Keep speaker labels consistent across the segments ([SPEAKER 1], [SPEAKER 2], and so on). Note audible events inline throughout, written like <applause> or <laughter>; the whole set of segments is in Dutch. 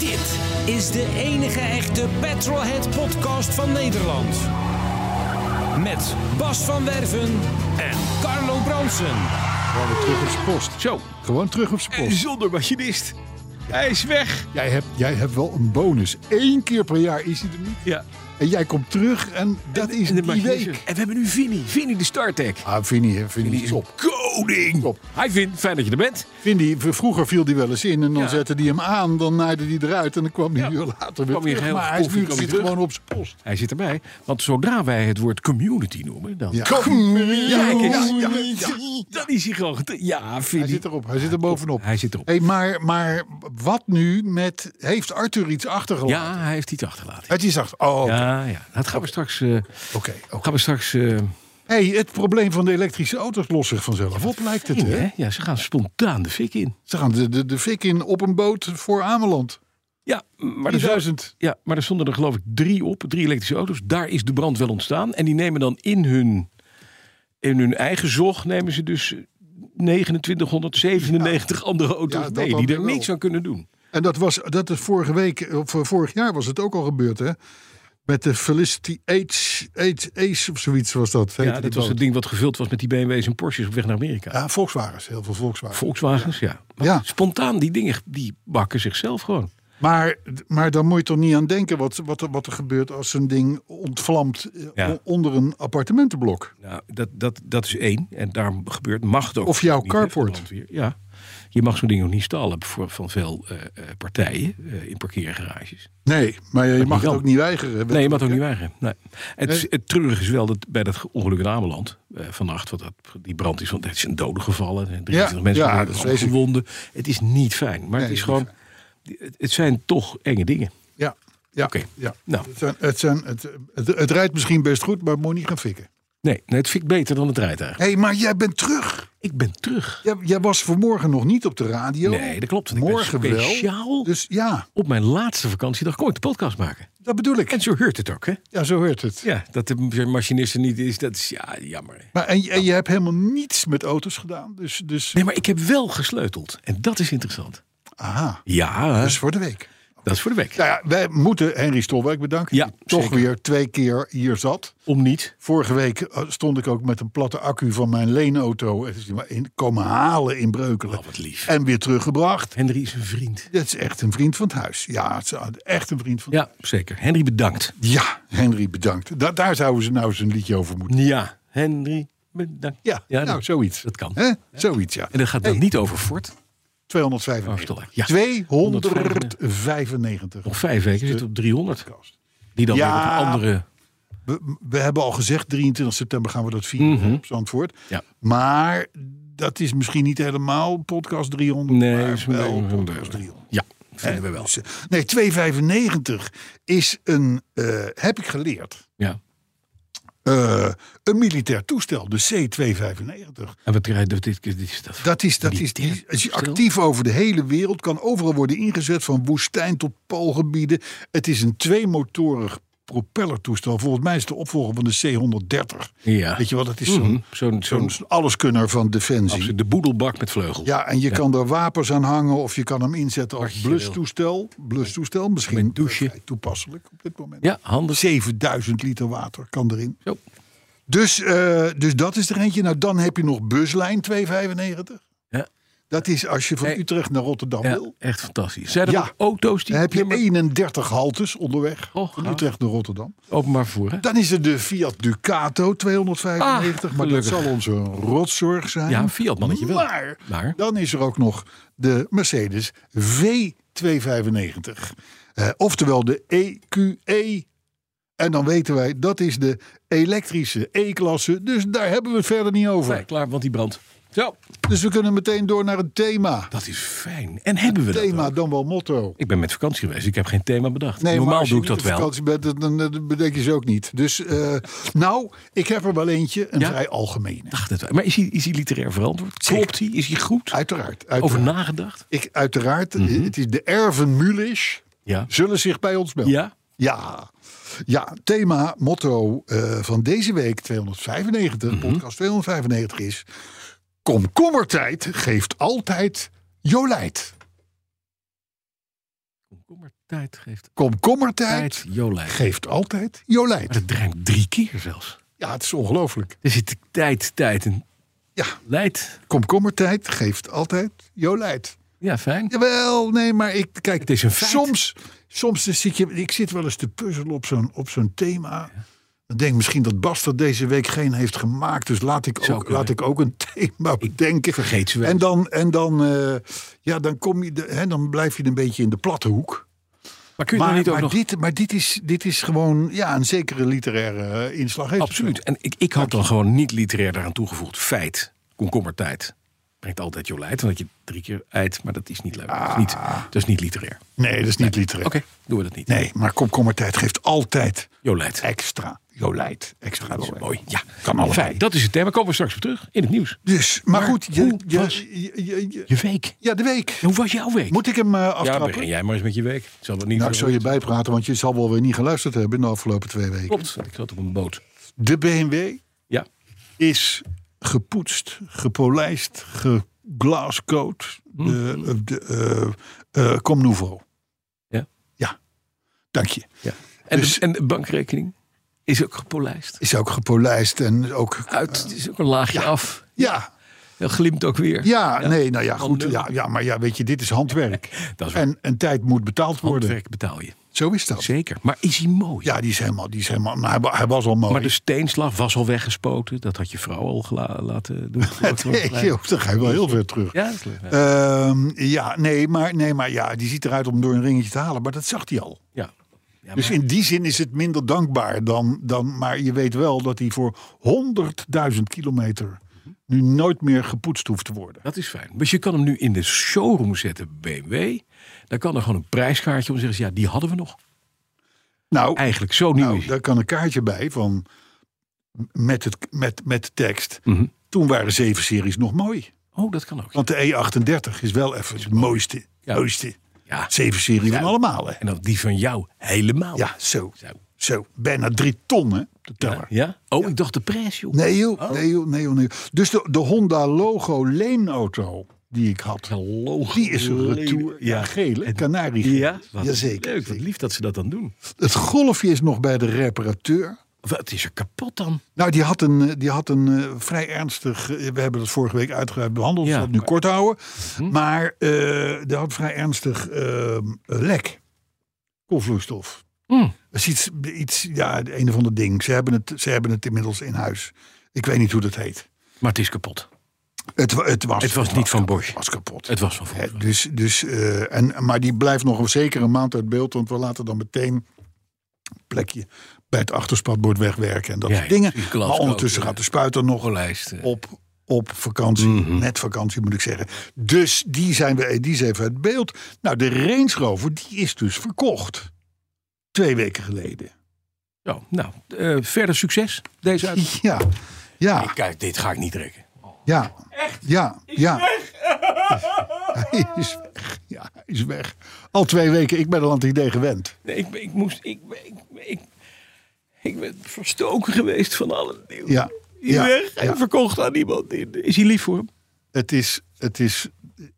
[SPEAKER 1] Dit is de enige echte Petrolhead podcast van Nederland. Met Bas van Werven en Carlo Bronsen.
[SPEAKER 2] Gewoon weer terug op zijn post.
[SPEAKER 3] Zo,
[SPEAKER 2] Gewoon terug op zijn
[SPEAKER 3] en
[SPEAKER 2] post.
[SPEAKER 3] zonder machinist. Hij is weg.
[SPEAKER 2] Jij hebt, jij hebt wel een bonus. Eén keer per jaar is hij er niet.
[SPEAKER 3] Ja,
[SPEAKER 2] En jij komt terug en dat is
[SPEAKER 3] en de
[SPEAKER 2] die
[SPEAKER 3] machinist.
[SPEAKER 2] week.
[SPEAKER 3] En we hebben nu Vinnie. Vinnie de StarTech.
[SPEAKER 2] Ah, Vinnie, hè, Vinnie
[SPEAKER 3] Die
[SPEAKER 2] is
[SPEAKER 3] is
[SPEAKER 2] op.
[SPEAKER 3] koning.
[SPEAKER 2] Top.
[SPEAKER 3] Hij vindt, fijn dat je er bent.
[SPEAKER 2] Vinnie, v- vroeger viel die wel eens in en dan
[SPEAKER 3] Ja.
[SPEAKER 2] zette die hem aan. Dan naaide die eruit en dan kwam die uur later weer
[SPEAKER 3] kwam hij
[SPEAKER 2] terug.
[SPEAKER 3] heel
[SPEAKER 2] maar hij is
[SPEAKER 3] koffie,
[SPEAKER 2] nu
[SPEAKER 3] kwam
[SPEAKER 2] zit
[SPEAKER 3] hij terug.
[SPEAKER 2] gewoon op zijn post.
[SPEAKER 3] Hij zit erbij. Want zodra wij het woord community noemen, dan...
[SPEAKER 2] Ja.
[SPEAKER 3] Ja, kijk eens.
[SPEAKER 2] Ja, ja,
[SPEAKER 3] Dan is hij gewoon... gete- Ja,
[SPEAKER 2] Hij
[SPEAKER 3] Vinnie.
[SPEAKER 2] zit erop, hij zit er bovenop.
[SPEAKER 3] Hij zit erop.
[SPEAKER 2] Hey, maar, maar wat nu met... Heeft Arthur iets achtergelaten?
[SPEAKER 3] Ja, hij heeft iets achtergelaten.
[SPEAKER 2] Het is achter... Oh, oké.
[SPEAKER 3] Ja, ja. Dat gaan we straks... eh,
[SPEAKER 2] oké, oké.
[SPEAKER 3] gaan we straks... eh,
[SPEAKER 2] Hey, het probleem van de elektrische auto's lost zich vanzelf op, lijkt het.
[SPEAKER 3] in,
[SPEAKER 2] Hè?
[SPEAKER 3] hè? Ja, ze gaan spontaan de fik in.
[SPEAKER 2] Ze gaan de, de, de fik in op een boot voor Ameland.
[SPEAKER 3] Ja, maar er zou-
[SPEAKER 2] 3000.
[SPEAKER 3] Ja, maar er stonden er geloof ik drie op, drie elektrische auto's. Daar is de brand wel ontstaan. En die nemen dan in hun, in hun eigen zog, nemen ze dus 2997 andere auto's
[SPEAKER 2] dat
[SPEAKER 3] mee.
[SPEAKER 2] dan
[SPEAKER 3] Die
[SPEAKER 2] weer
[SPEAKER 3] er
[SPEAKER 2] wel.
[SPEAKER 3] niks aan kunnen doen.
[SPEAKER 2] En dat was dat is vorige week, of eh, vorig jaar was het ook al gebeurd, hè? Met de Felicity Ace, Ace, Ace of zoiets was dat. heette
[SPEAKER 3] Ja,
[SPEAKER 2] die
[SPEAKER 3] dat was
[SPEAKER 2] boot.
[SPEAKER 3] het ding wat gevuld was met die BMW's en Porsches op weg naar Amerika.
[SPEAKER 2] Ja, Volkswagens, heel veel Volkswagens.
[SPEAKER 3] Volkswagens, ja. Maar
[SPEAKER 2] Ja.
[SPEAKER 3] Spontaan, die dingen, die bakken zichzelf gewoon.
[SPEAKER 2] Maar, maar dan moet je toch niet aan denken wat, wat, er- wat er gebeurt als zo'n ding ontvlamt eh,
[SPEAKER 3] Ja.
[SPEAKER 2] o- onder een appartementenblok.
[SPEAKER 3] Nou, dat, dat, dat is één. En daar gebeurt macht ook.
[SPEAKER 2] Of jouw
[SPEAKER 3] niet, hè,
[SPEAKER 2] carport.
[SPEAKER 3] brandweer. Ja. Je mag zo'n ding ook niet stallen voor, van veel eh, eh, partijen eh, in parkeergarages.
[SPEAKER 2] Nee, maar je mag het
[SPEAKER 3] kan.
[SPEAKER 2] ook niet weigeren.
[SPEAKER 3] Nee, je mag het ook niet weigeren. Nee. Het, is- het treurige is wel dat bij dat ongeluk in Ameland eh, vannacht, want dat, die brand is, want het is een dode gevallen. en 23
[SPEAKER 2] Ja,
[SPEAKER 3] mensen
[SPEAKER 2] ja,
[SPEAKER 3] waren
[SPEAKER 2] dat is
[SPEAKER 3] allemaal
[SPEAKER 2] vreselijk.
[SPEAKER 3] gewonden. Het is niet fijn, maar het
[SPEAKER 2] Nee,
[SPEAKER 3] is
[SPEAKER 2] het is
[SPEAKER 3] gewoon, het, het zijn toch enge dingen.
[SPEAKER 2] Ja, ja,
[SPEAKER 3] Oké.
[SPEAKER 2] ja.
[SPEAKER 3] Nou.
[SPEAKER 2] Het, zijn, het, zijn, het, het, het rijdt misschien best goed, maar het moet niet gaan fikken.
[SPEAKER 3] Nee, nee, het fikt beter dan het rijtuig.
[SPEAKER 2] Hé, hey, maar jij bent terug.
[SPEAKER 3] Ik ben terug.
[SPEAKER 2] Jij, jij was vanmorgen nog niet op de radio.
[SPEAKER 3] Nee, dat klopt. want ik ben
[SPEAKER 2] Morgen wel.
[SPEAKER 3] speciaal
[SPEAKER 2] Dus ja,
[SPEAKER 3] op mijn laatste vakantiedag kon ik de podcast maken.
[SPEAKER 2] dat bedoel ik.
[SPEAKER 3] En zo heurt het ook, hè?
[SPEAKER 2] Ja, zo hoort het.
[SPEAKER 3] Ja, dat de machinist er niet is, dat is ja, jammer. hè.
[SPEAKER 2] Maar, en, en je hebt helemaal niets met auto's gedaan. Dus, dus
[SPEAKER 3] Nee, maar ik heb wel gesleuteld. En dat is interessant.
[SPEAKER 2] aha,
[SPEAKER 3] Ja,
[SPEAKER 2] dat is voor de week.
[SPEAKER 3] dat is voor de week.
[SPEAKER 2] Nou ja, wij moeten Henry Stolwijk bedanken.
[SPEAKER 3] Ja,
[SPEAKER 2] die toch
[SPEAKER 3] zeker.
[SPEAKER 2] weer twee keer hier zat.
[SPEAKER 3] Om niet.
[SPEAKER 2] Vorige week eh, stond ik ook met een platte accu van mijn leenauto. Het is niet maar in, komen halen in Breukelen.
[SPEAKER 3] Oh, wat lief.
[SPEAKER 2] En weer teruggebracht.
[SPEAKER 3] Henry is een vriend.
[SPEAKER 2] Dat is echt een vriend van het huis. Ja, het is echt een vriend van
[SPEAKER 3] Ja, zeker. Henry bedankt.
[SPEAKER 2] Ja, Henry, bedankt. Da- daar zouden ze nou eens een liedje over moeten.
[SPEAKER 3] Ja, Henry bedankt.
[SPEAKER 2] Ja, nou,
[SPEAKER 3] dat-
[SPEAKER 2] zoiets.
[SPEAKER 3] Dat kan.
[SPEAKER 2] Hè? Zoiets, ja.
[SPEAKER 3] En dat gaat dan niet over Ford.
[SPEAKER 2] 295.
[SPEAKER 3] Ja.
[SPEAKER 2] 295.
[SPEAKER 3] Nog vijf weken zit op 300. Die dan
[SPEAKER 2] Ja.
[SPEAKER 3] weer op een andere...
[SPEAKER 2] We, we hebben al gezegd, 23 september gaan we dat vieren
[SPEAKER 3] Mhm.
[SPEAKER 2] op Zandvoort.
[SPEAKER 3] Ja.
[SPEAKER 2] Maar dat is misschien niet helemaal podcast 300.
[SPEAKER 3] Nee,
[SPEAKER 2] maar
[SPEAKER 3] is een
[SPEAKER 2] wel
[SPEAKER 3] beetje-
[SPEAKER 2] podcast 300.
[SPEAKER 3] Ja, vinden we wel.
[SPEAKER 2] Dus, Nee, 295 is een, eh, heb ik geleerd,
[SPEAKER 3] Ja.
[SPEAKER 2] eh, een militair toestel, de C-295.
[SPEAKER 3] En wat rijdt dit, dit, dit is dat?
[SPEAKER 2] Dat is, dat is,
[SPEAKER 3] Militair
[SPEAKER 2] die is
[SPEAKER 3] toestel?
[SPEAKER 2] actief over de hele wereld. Kan overal worden ingezet, van woestijn tot poolgebieden. Het is een tweemotorig propellertoestel. Volgens mij is het de opvolger van de C-130.
[SPEAKER 3] Ja.
[SPEAKER 2] Weet je wel, dat is zo'n
[SPEAKER 3] Mhm. Zo'n zo'n
[SPEAKER 2] zo'n alleskunner van Defensie.
[SPEAKER 3] absoluut, de boedelbak met vleugel.
[SPEAKER 2] Ja, en je kan er wapens aan hangen of je kan hem inzetten als
[SPEAKER 3] Wat je
[SPEAKER 2] blustoestel. Blustoestel, misschien
[SPEAKER 3] Met douche.
[SPEAKER 2] eh, vrij toepasselijk op dit moment.
[SPEAKER 3] Ja, handig.
[SPEAKER 2] 7000 liter water kan erin.
[SPEAKER 3] Zo.
[SPEAKER 2] Dus, eh, dus dat is er eentje. Nou, dan heb je nog buslijn 295.
[SPEAKER 3] Ja.
[SPEAKER 2] Dat is als je van
[SPEAKER 3] Nee.
[SPEAKER 2] Utrecht naar Rotterdam
[SPEAKER 3] Ja,
[SPEAKER 2] wil.
[SPEAKER 3] echt fantastisch. Zijn er
[SPEAKER 2] Ja.
[SPEAKER 3] nog auto's die
[SPEAKER 2] Dan heb je
[SPEAKER 3] nummer-
[SPEAKER 2] 31 haltes onderweg
[SPEAKER 3] Oh,
[SPEAKER 2] van
[SPEAKER 3] gaaf.
[SPEAKER 2] Utrecht naar Rotterdam.
[SPEAKER 3] openbaar vervoer? hè?
[SPEAKER 2] Dan is er de Fiat Ducato 295,
[SPEAKER 3] Ah,
[SPEAKER 2] maar dat
[SPEAKER 3] gelukkig.
[SPEAKER 2] zal onze rotzorg zijn.
[SPEAKER 3] Ja, Fiat mannetje wel.
[SPEAKER 2] Maar,
[SPEAKER 3] Maar?
[SPEAKER 2] dan is er ook nog de Mercedes V295. Eh, oftewel de EQE. En dan weten wij, dat is de elektrische E-klasse. Dus daar hebben we het verder niet over.
[SPEAKER 3] Nee, klaar, want die brand. Zo,
[SPEAKER 2] Dus we kunnen meteen door naar een thema.
[SPEAKER 3] dat is fijn. En hebben we dat?
[SPEAKER 2] Thema
[SPEAKER 3] ook?
[SPEAKER 2] dan wel motto.
[SPEAKER 3] Ik ben met vakantie geweest, ik heb geen thema bedacht.
[SPEAKER 2] maar
[SPEAKER 3] Normaal
[SPEAKER 2] als je
[SPEAKER 3] doe ik
[SPEAKER 2] niet
[SPEAKER 3] dat
[SPEAKER 2] op
[SPEAKER 3] wel.
[SPEAKER 2] vakantie bent, dan- dan, dan bedenk je ze ook niet. Dus, eh, nou, ik heb er wel eentje, een
[SPEAKER 3] Ja?
[SPEAKER 2] vrij algemene.
[SPEAKER 3] Dacht het wel. Maar is hij, is hij literair verantwoord?
[SPEAKER 2] Zeker.
[SPEAKER 3] Klopt hij? Is hij goed?
[SPEAKER 2] Uiteraard. uiteraard.
[SPEAKER 3] Over Mhm. nagedacht?
[SPEAKER 2] Ik, uiteraard, het is de erven Mulisch
[SPEAKER 3] Ja.
[SPEAKER 2] zullen zich bij ons melden.
[SPEAKER 3] Ja?
[SPEAKER 2] Ja, Ja, thema, motto eh, van deze week 295,
[SPEAKER 3] Mhm.
[SPEAKER 2] podcast 295 is... Komkommertijd geeft altijd Jolijt.
[SPEAKER 3] Komkommer tijd geeft tijd
[SPEAKER 2] Komkommertijd
[SPEAKER 3] Jolijn.
[SPEAKER 2] geeft altijd
[SPEAKER 3] Maar
[SPEAKER 2] Jolijt.
[SPEAKER 3] dat drijft drie keer zelfs.
[SPEAKER 2] Ja, het is ongelooflijk.
[SPEAKER 3] Er zit tijd, tijd en
[SPEAKER 2] Ja,
[SPEAKER 3] leidt.
[SPEAKER 2] komkommertijd geeft altijd Jolijt.
[SPEAKER 3] Ja, fijn.
[SPEAKER 2] Jawel, nee, maar ik kijk.
[SPEAKER 3] Het is een feit.
[SPEAKER 2] Soms, soms dan zit je. Ik zit wel eens te puzzelen op zo'n op zo'n thema. Dan denk ik misschien dat Bas er deze week geen heeft gemaakt. Dus laat ik,
[SPEAKER 3] Zou
[SPEAKER 2] ook,
[SPEAKER 3] kunnen.
[SPEAKER 2] laat ik ook een <laughs> thema bedenken.
[SPEAKER 3] vergeet ze wel.
[SPEAKER 2] En dan, en dan, eh, ja, dan, kom je de, hè, dan blijf je een beetje in de platte hoek.
[SPEAKER 3] Maar kun je
[SPEAKER 2] Maar,
[SPEAKER 3] daar niet ook
[SPEAKER 2] maar
[SPEAKER 3] nog...
[SPEAKER 2] dit, maar dit, is, dit is gewoon ja, een zekere literaire eh, inslag. Heeft het
[SPEAKER 3] Absoluut. En ik, ik had dan gewoon niet literair daaraan toegevoegd. Feit. Komkommertijd. Brengt altijd Jolijt, omdat je drie keer eit. Maar dat is niet leuk. Dat, is niet, dat is niet literair.
[SPEAKER 2] wel. Nee, dat is niet literair.
[SPEAKER 3] Oké, doen we dat niet.
[SPEAKER 2] Ah. Nee, maar komkommertijd geeft altijd
[SPEAKER 3] Jolijt.
[SPEAKER 2] extra Jolijt. Extra Jolijt.
[SPEAKER 3] Mooi, ja.
[SPEAKER 2] Kan allebei.
[SPEAKER 3] Fijn, dat is het thema. Komen we straks op terug in het nieuws.
[SPEAKER 2] Dus, maar,
[SPEAKER 3] Maar
[SPEAKER 2] goed, je,
[SPEAKER 3] hoe
[SPEAKER 2] je-
[SPEAKER 3] was-
[SPEAKER 2] je- je- je-
[SPEAKER 3] Je week.
[SPEAKER 2] ja, de week.
[SPEAKER 3] Hoe was jouw week?
[SPEAKER 2] Moet ik hem eh,
[SPEAKER 3] ja,
[SPEAKER 2] aftrappen?
[SPEAKER 3] begin jij maar eens met je week. Het zal wel niet
[SPEAKER 2] nou, ik
[SPEAKER 3] zo-
[SPEAKER 2] zal je bijpraten, want je zal wel weer niet geluisterd hebben in de afgelopen twee weken.
[SPEAKER 3] Klopt, ik zat op een boot.
[SPEAKER 2] De BMW
[SPEAKER 3] Ja,
[SPEAKER 2] is gepoetst, gepolijst, geglascoat.
[SPEAKER 3] Hm.
[SPEAKER 2] De, eh, de eh, eh, Comme Nouveau.
[SPEAKER 3] Ja.
[SPEAKER 2] Ja, dank je.
[SPEAKER 3] ja. En,
[SPEAKER 2] Dus-
[SPEAKER 3] de, en de bankrekening is ook gepolijst.
[SPEAKER 2] Is ook gepolijst en ook...
[SPEAKER 3] Uit, het is ook een laagje af.
[SPEAKER 2] Ja,
[SPEAKER 3] Dat glimt ook weer.
[SPEAKER 2] ja, nee, nou ja, goed.
[SPEAKER 3] Handen.
[SPEAKER 2] Ja, ja, maar ja, weet je, dit is handwerk.
[SPEAKER 3] <laughs> Dat is waar.
[SPEAKER 2] en, en tijd moet betaald worden.
[SPEAKER 3] Handwerk betaal je.
[SPEAKER 2] Zo is dat.
[SPEAKER 3] Zeker. Maar is hij mooi?
[SPEAKER 2] Ja, die is helemaal... Die is helemaal nou, hij, wa- hij was al mooi.
[SPEAKER 3] Maar de steenslag was al weggespoten. Dat had je vrouw al gela- laten doen.
[SPEAKER 2] <laughs> <laughs> Nee, joh, dan ga je wel heel ver terug.
[SPEAKER 3] Ja, dat is leuk. Ja.
[SPEAKER 2] Ehm, ja, nee maar, nee, maar ja, die ziet eruit om door een ringetje te halen. Maar dat zag hij al.
[SPEAKER 3] Ja. Ja,
[SPEAKER 2] Dus
[SPEAKER 3] maar-
[SPEAKER 2] in die zin is het minder dankbaar dan... dan maar je weet wel dat hij voor 100.000 kilometer... nu nooit meer gepoetst hoeft te worden.
[SPEAKER 3] Dat is fijn. Dus je kan hem nu in de showroom zetten, BMW. Dan kan er gewoon een prijskaartje om zeggen: ja, die hadden we nog.
[SPEAKER 2] Nou,
[SPEAKER 3] Eigenlijk zo nieuw
[SPEAKER 2] nou
[SPEAKER 3] is hij.
[SPEAKER 2] daar kan een kaartje bij van... met, het, met, met de tekst.
[SPEAKER 3] Mhm.
[SPEAKER 2] Toen waren zeven series nog mooi.
[SPEAKER 3] Oh, dat kan ook.
[SPEAKER 2] Want de E38 is wel even het mooiste.
[SPEAKER 3] Ja.
[SPEAKER 2] mooiste
[SPEAKER 3] Ja.
[SPEAKER 2] zeven serie van
[SPEAKER 3] Ja.
[SPEAKER 2] allemaal, hè?
[SPEAKER 3] En dan die van jou helemaal.
[SPEAKER 2] Ja, zo.
[SPEAKER 3] Zo.
[SPEAKER 2] Zo, bijna drie ton, hè, de teller.
[SPEAKER 3] Ja? Oh, ik dacht de prijs, joh.
[SPEAKER 2] Nee joh, nee joh, nee joh, nee joh. Dus de, de Honda Logo leenauto die ik had,
[SPEAKER 3] Hallo.
[SPEAKER 2] die is een retour. Ja, geel, hè? Canarie.
[SPEAKER 3] Ja, wat
[SPEAKER 2] Jazeker.
[SPEAKER 3] leuk. Wat lief dat ze dat dan doen.
[SPEAKER 2] Het golfje is nog bij de reparateur.
[SPEAKER 3] Wat is er kapot dan?
[SPEAKER 2] Nou, die had een, eh, die had een eh, vrij ernstig... eh, We hebben dat vorige week uitgebreid behandeld, dus
[SPEAKER 3] Ja. Hm?
[SPEAKER 2] dat nu kort houden. Maar eh die had vrij ernstig eh, lek. Koolvloeistof.
[SPEAKER 3] Hm.
[SPEAKER 2] Dat is iets, iets, ja, een of ander ding. Ze hebben, het, ze hebben het inmiddels in huis. Ik weet niet hoe dat heet.
[SPEAKER 3] Maar het is kapot.
[SPEAKER 2] Het, wa- het, was,
[SPEAKER 3] Het was niet van Bosch.
[SPEAKER 2] Het was kapot.
[SPEAKER 3] Het was van
[SPEAKER 2] Hè,
[SPEAKER 3] vroeger.
[SPEAKER 2] dus, dus, eh, en, maar die blijft nog een zekere maand uit beeld. Want we laten dan meteen een plekje bij het achterspatbord wegwerken. En dat
[SPEAKER 3] Ja,
[SPEAKER 2] soort
[SPEAKER 3] ja,
[SPEAKER 2] dingen.
[SPEAKER 3] precies,
[SPEAKER 2] Maar
[SPEAKER 3] glasgoot,
[SPEAKER 2] ondertussen
[SPEAKER 3] ja.
[SPEAKER 2] gaat de spuiter nog
[SPEAKER 3] Polijst. eh.
[SPEAKER 2] op, op vakantie.
[SPEAKER 3] Mhm.
[SPEAKER 2] Net vakantie moet ik zeggen. Dus die, zijn we, die is even uit beeld. Nou, de Range Rover die is dus verkocht. Twee weken geleden.
[SPEAKER 3] Zo, nou, eh, verder succes deze uit.
[SPEAKER 2] Ja, ja,
[SPEAKER 3] Kijk, dit ga ik niet rekken.
[SPEAKER 2] ja. Echt? Ja, ja. <laughs> Hij is weg. Ja, hij is weg. Al twee weken. Ik ben al aan het idee gewend.
[SPEAKER 3] Nee, ik, ik moest. Ik, ik, ik, ik ben verstoken geweest van alle nieuws.
[SPEAKER 2] Ja.
[SPEAKER 3] Die
[SPEAKER 2] ja,
[SPEAKER 3] weg en
[SPEAKER 2] ja.
[SPEAKER 3] verkocht aan iemand. Is hij lief voor hem?
[SPEAKER 2] Het is, het is,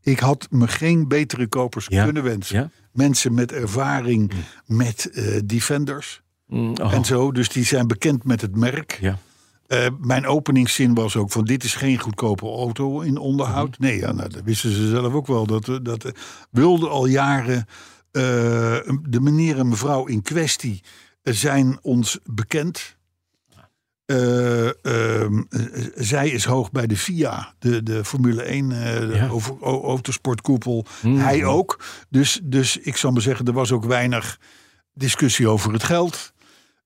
[SPEAKER 2] ik had me geen betere kopers
[SPEAKER 3] Ja,
[SPEAKER 2] kunnen wensen.
[SPEAKER 3] ja. Mm.
[SPEAKER 2] Mensen met ervaring met eh, Defenders
[SPEAKER 3] oh.
[SPEAKER 2] en zo. Dus die zijn bekend met het merk.
[SPEAKER 3] Ja.
[SPEAKER 2] Eh, mijn openingszin was ook van dit is geen goedkope auto in onderhoud. Nee, ja, nou, dat wisten ze zelf ook wel. Dat, eh, dat eh, wilde al jaren eh, de meneer en mevrouw in kwestie eh, zijn ons bekend. Eh, ehm, eh, zij is hoog bij de FIA, de, de Formule 1 eh de
[SPEAKER 3] Ja. Hmm.
[SPEAKER 2] over, o- autosportkoepel. Hij ook. Dus, dus ik zal maar zeggen, er was ook weinig discussie over het geld.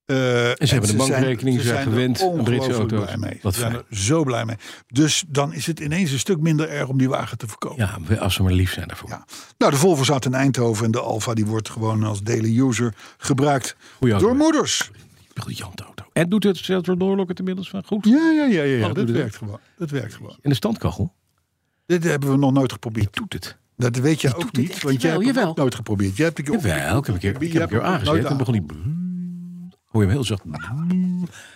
[SPEAKER 2] Eh, en
[SPEAKER 3] hebben de bankrekening, ze zijn
[SPEAKER 2] er
[SPEAKER 3] gewend aan Britse
[SPEAKER 2] ongelooflijk
[SPEAKER 3] auto's.
[SPEAKER 2] Blij mee.
[SPEAKER 3] Wat
[SPEAKER 2] ze zijn
[SPEAKER 3] fijn.
[SPEAKER 2] er zo blij mee. Dus dan is het ineens een stuk minder erg om die wagen te verkopen.
[SPEAKER 3] Ja, we- als ze maar lief zijn daarvoor.
[SPEAKER 2] Ja. Nou, de Volvo staat in Eindhoven en de Alfa die wordt gewoon als daily user gebruikt
[SPEAKER 3] Goeie auto.
[SPEAKER 2] door moeders.
[SPEAKER 3] Briljante auto. En doet het zelfs doorlokken inmiddels van goed.
[SPEAKER 2] Ja, ja, ja, ja, ja.
[SPEAKER 3] Oh,
[SPEAKER 2] dat
[SPEAKER 3] doe dat.
[SPEAKER 2] werkt gewoon. Dat werkt gewoon.
[SPEAKER 3] En de standkachel
[SPEAKER 2] Dit hebben we nog nooit geprobeerd.
[SPEAKER 3] doet het.
[SPEAKER 2] Dat weet je ook
[SPEAKER 3] doet het
[SPEAKER 2] niet,
[SPEAKER 3] echt
[SPEAKER 2] want jij
[SPEAKER 3] wel,
[SPEAKER 2] hebt het
[SPEAKER 3] jawel.
[SPEAKER 2] ook nooit geprobeerd. Jij hebt een keer
[SPEAKER 3] Jawel, ik heb een keer, ik
[SPEAKER 2] Jij
[SPEAKER 3] heb een
[SPEAKER 2] hebt
[SPEAKER 3] keer
[SPEAKER 2] hem nooit
[SPEAKER 3] aangezet en
[SPEAKER 2] aan.
[SPEAKER 3] begon die... Hoor je hem heel zacht.
[SPEAKER 2] Nou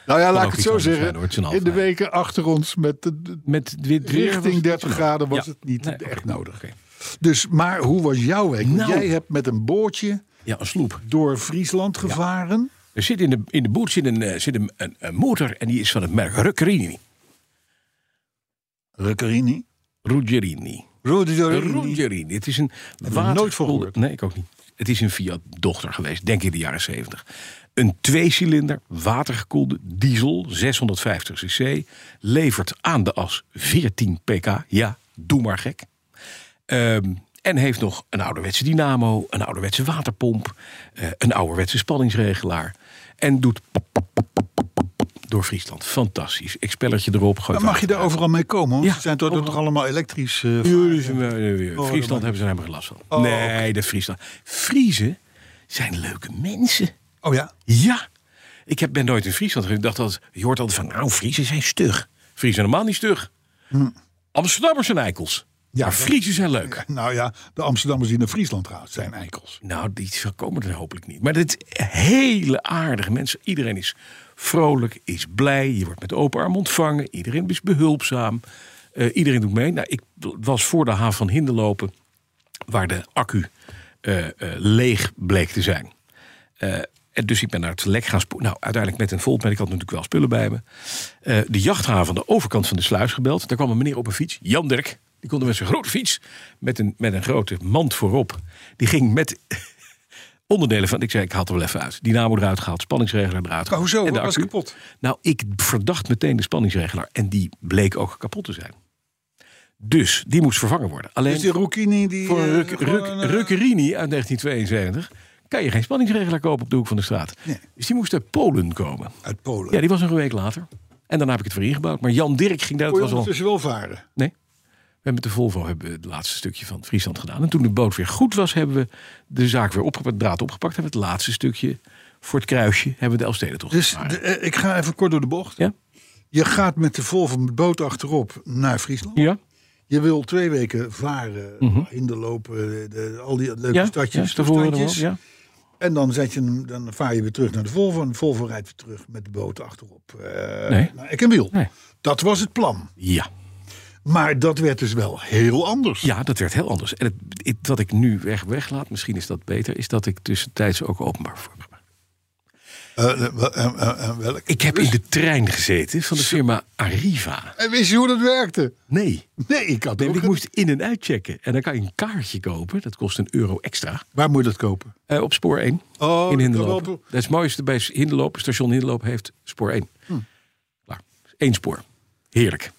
[SPEAKER 2] ja,
[SPEAKER 3] Kan ook
[SPEAKER 2] laat ik het
[SPEAKER 3] iets
[SPEAKER 2] zo
[SPEAKER 3] anders
[SPEAKER 2] zeggen.
[SPEAKER 3] zijn, hoor. Het is een
[SPEAKER 2] in de
[SPEAKER 3] Alfa.
[SPEAKER 2] weken achter ons met de, de-
[SPEAKER 3] Met wit weer was
[SPEAKER 2] richting
[SPEAKER 3] het
[SPEAKER 2] 30
[SPEAKER 3] niet zo
[SPEAKER 2] graden was
[SPEAKER 3] Ja.
[SPEAKER 2] het niet
[SPEAKER 3] Nee,
[SPEAKER 2] echt
[SPEAKER 3] oké,
[SPEAKER 2] nodig.
[SPEAKER 3] oké.
[SPEAKER 2] Dus, maar hoe was jouw week? Want
[SPEAKER 3] Nou.
[SPEAKER 2] Jij hebt met een bootje
[SPEAKER 3] Ja, een sloep.
[SPEAKER 2] door Friesland gevaren.
[SPEAKER 3] Er zit in de, in de boot zit, een, eh, zit een, een, een motor en die is van het merk Ruccherini.
[SPEAKER 2] Ruccherini.
[SPEAKER 3] Ruggerini.
[SPEAKER 2] Ruccherini.
[SPEAKER 3] Ruggerini. Het is een
[SPEAKER 2] ik
[SPEAKER 3] water...
[SPEAKER 2] nooit van gehoord.
[SPEAKER 3] Nee, ik ook niet. Het is een Fiat-dochter geweest, denk ik in de jaren 70. Een tweecilinder, watergekoelde diesel, 650 cc. Levert aan de as 14 pk. Ja, doe maar gek. Ehm, en heeft nog een ouderwetse dynamo, een ouderwetse waterpomp... eh, een ouderwetse spanningsregelaar. En doet pop, pop, pop, pop, pop, pop door Friesland. Fantastisch. Expellertje erop. gooi
[SPEAKER 2] Dan mag je
[SPEAKER 3] water
[SPEAKER 2] daar overal mee komen. hoor.
[SPEAKER 3] Ja,
[SPEAKER 2] Ze zijn toch, toch allemaal elektrisch. eh,
[SPEAKER 3] ja, dus, eh, eh,
[SPEAKER 2] Oh,
[SPEAKER 3] Friesland
[SPEAKER 2] dat-
[SPEAKER 3] hebben ze er helemaal geen last van.
[SPEAKER 2] Oh,
[SPEAKER 3] nee, de Friesland. Friezen zijn leuke mensen.
[SPEAKER 2] oh ja.
[SPEAKER 3] Ja. Ik heb, ben nooit in Friesland geweest. Ik dacht dat je hoort altijd van, nou, Friesen zijn stug. Friesen zijn normaal niet stug. Amsterdammers zijn eikels.
[SPEAKER 2] Hm. Ja,
[SPEAKER 3] maar
[SPEAKER 2] dat-
[SPEAKER 3] Friesen zijn leuk.
[SPEAKER 2] Nou ja, de Amsterdammers die naar Friesland gaan zijn eikels.
[SPEAKER 3] Nou, die komen er hopelijk niet. Maar dit hele aardige mensen. Iedereen is vrolijk, is blij. Je wordt met open arm ontvangen. Iedereen is behulpzaam. Eh, iedereen doet mee. Nou, ik was voor de haven van Hinderlopen, waar de accu eh, eh, leeg bleek te zijn. Eh, en dus ik ben naar het lek gaan spoelen. Nou, uiteindelijk met een voltman. Ik had natuurlijk wel spullen bij me. Eh, de jachthaven aan de overkant van de sluis gebeld. Daar kwam een meneer op een fiets, Jan Dirk. Die kon er met zijn grote fiets, met een, met een grote mand voorop. Die ging met <laughs> onderdelen van. Ik zei, ik haal het er wel even uit. Dynamo eruit gehaald, spanningsregelaar eruit gehaald.
[SPEAKER 2] hoezo?
[SPEAKER 3] en de
[SPEAKER 2] Wat was
[SPEAKER 3] accu.
[SPEAKER 2] kapot?
[SPEAKER 3] Nou, ik verdacht meteen de spanningsregelaar. En die bleek ook kapot te zijn. Dus die moest vervangen worden. Alleen
[SPEAKER 2] Dus die Rucchini die...
[SPEAKER 3] voor een
[SPEAKER 2] eh,
[SPEAKER 3] ruk,
[SPEAKER 2] gewoon
[SPEAKER 3] ruk,
[SPEAKER 2] een, eh,
[SPEAKER 3] Ruccherini uit 1972 kan je geen spanningsregelaar kopen op de hoek van de straat.
[SPEAKER 2] Nee.
[SPEAKER 3] Dus die moest uit Polen komen.
[SPEAKER 2] Uit Polen.
[SPEAKER 3] Ja, die was nog een week later. En daarna heb ik het weer ingebouwd. Maar Jan Dirk ging daar.
[SPEAKER 2] Kon
[SPEAKER 3] Dat
[SPEAKER 2] je
[SPEAKER 3] was al.
[SPEAKER 2] ondertussen wel varen.
[SPEAKER 3] Nee. We hebben met de Volvo hebben we het laatste stukje van Friesland gedaan. En toen de boot weer goed was, hebben we de zaak weer opgepakt, de draad opgepakt. Hebben we het laatste stukje voor het kruisje, hebben we de Elfstedentocht
[SPEAKER 2] Dus
[SPEAKER 3] gevaren.
[SPEAKER 2] de- eh, ik ga even kort door de bocht.
[SPEAKER 3] Ja?
[SPEAKER 2] Je gaat met de Volvo met boot achterop naar Friesland.
[SPEAKER 3] Ja?
[SPEAKER 2] Je wil twee weken varen, hinderlopen, de, de- al die leuke
[SPEAKER 3] Mhm. Ja?
[SPEAKER 2] stadjes,
[SPEAKER 3] ja, daarvoor wel,
[SPEAKER 2] toestandjes.
[SPEAKER 3] ja.
[SPEAKER 2] En dan, zet je, hem- dan vaar je weer terug naar de Volvo. En de Volvo rijdt weer terug met de boot achterop. eh,
[SPEAKER 3] Nee.
[SPEAKER 2] Naar Eck en Wiel.
[SPEAKER 3] Nee.
[SPEAKER 2] Dat was het plan.
[SPEAKER 3] ja.
[SPEAKER 2] Maar dat werd dus wel heel anders.
[SPEAKER 3] Ja, dat werd heel anders. En het, het- wat ik nu weg, weglaat, misschien is dat beter, is dat ik tussentijds ook openbaar voor
[SPEAKER 2] Eh, eh, wel- eh, eh, eh, welk?
[SPEAKER 3] Ik heb in de trein gezeten van de firma Arriva.
[SPEAKER 2] En wist je hoe dat werkte?
[SPEAKER 3] Nee,
[SPEAKER 2] Nee, ik had
[SPEAKER 3] nee
[SPEAKER 2] ook
[SPEAKER 3] want ik
[SPEAKER 2] een-
[SPEAKER 3] moest in- en uitchecken. En dan kan je een kaartje kopen, dat kost een euro extra.
[SPEAKER 2] Waar moet je dat kopen?
[SPEAKER 3] Eh, op spoor 1
[SPEAKER 2] Oh,
[SPEAKER 3] in
[SPEAKER 2] dat
[SPEAKER 3] Hinderloop.
[SPEAKER 2] wel-
[SPEAKER 3] Dat is het mooiste bij Hinderloop. Station Hinderloop heeft spoor 1.
[SPEAKER 2] Hm.
[SPEAKER 3] Klaar. Eén spoor. Heerlijk.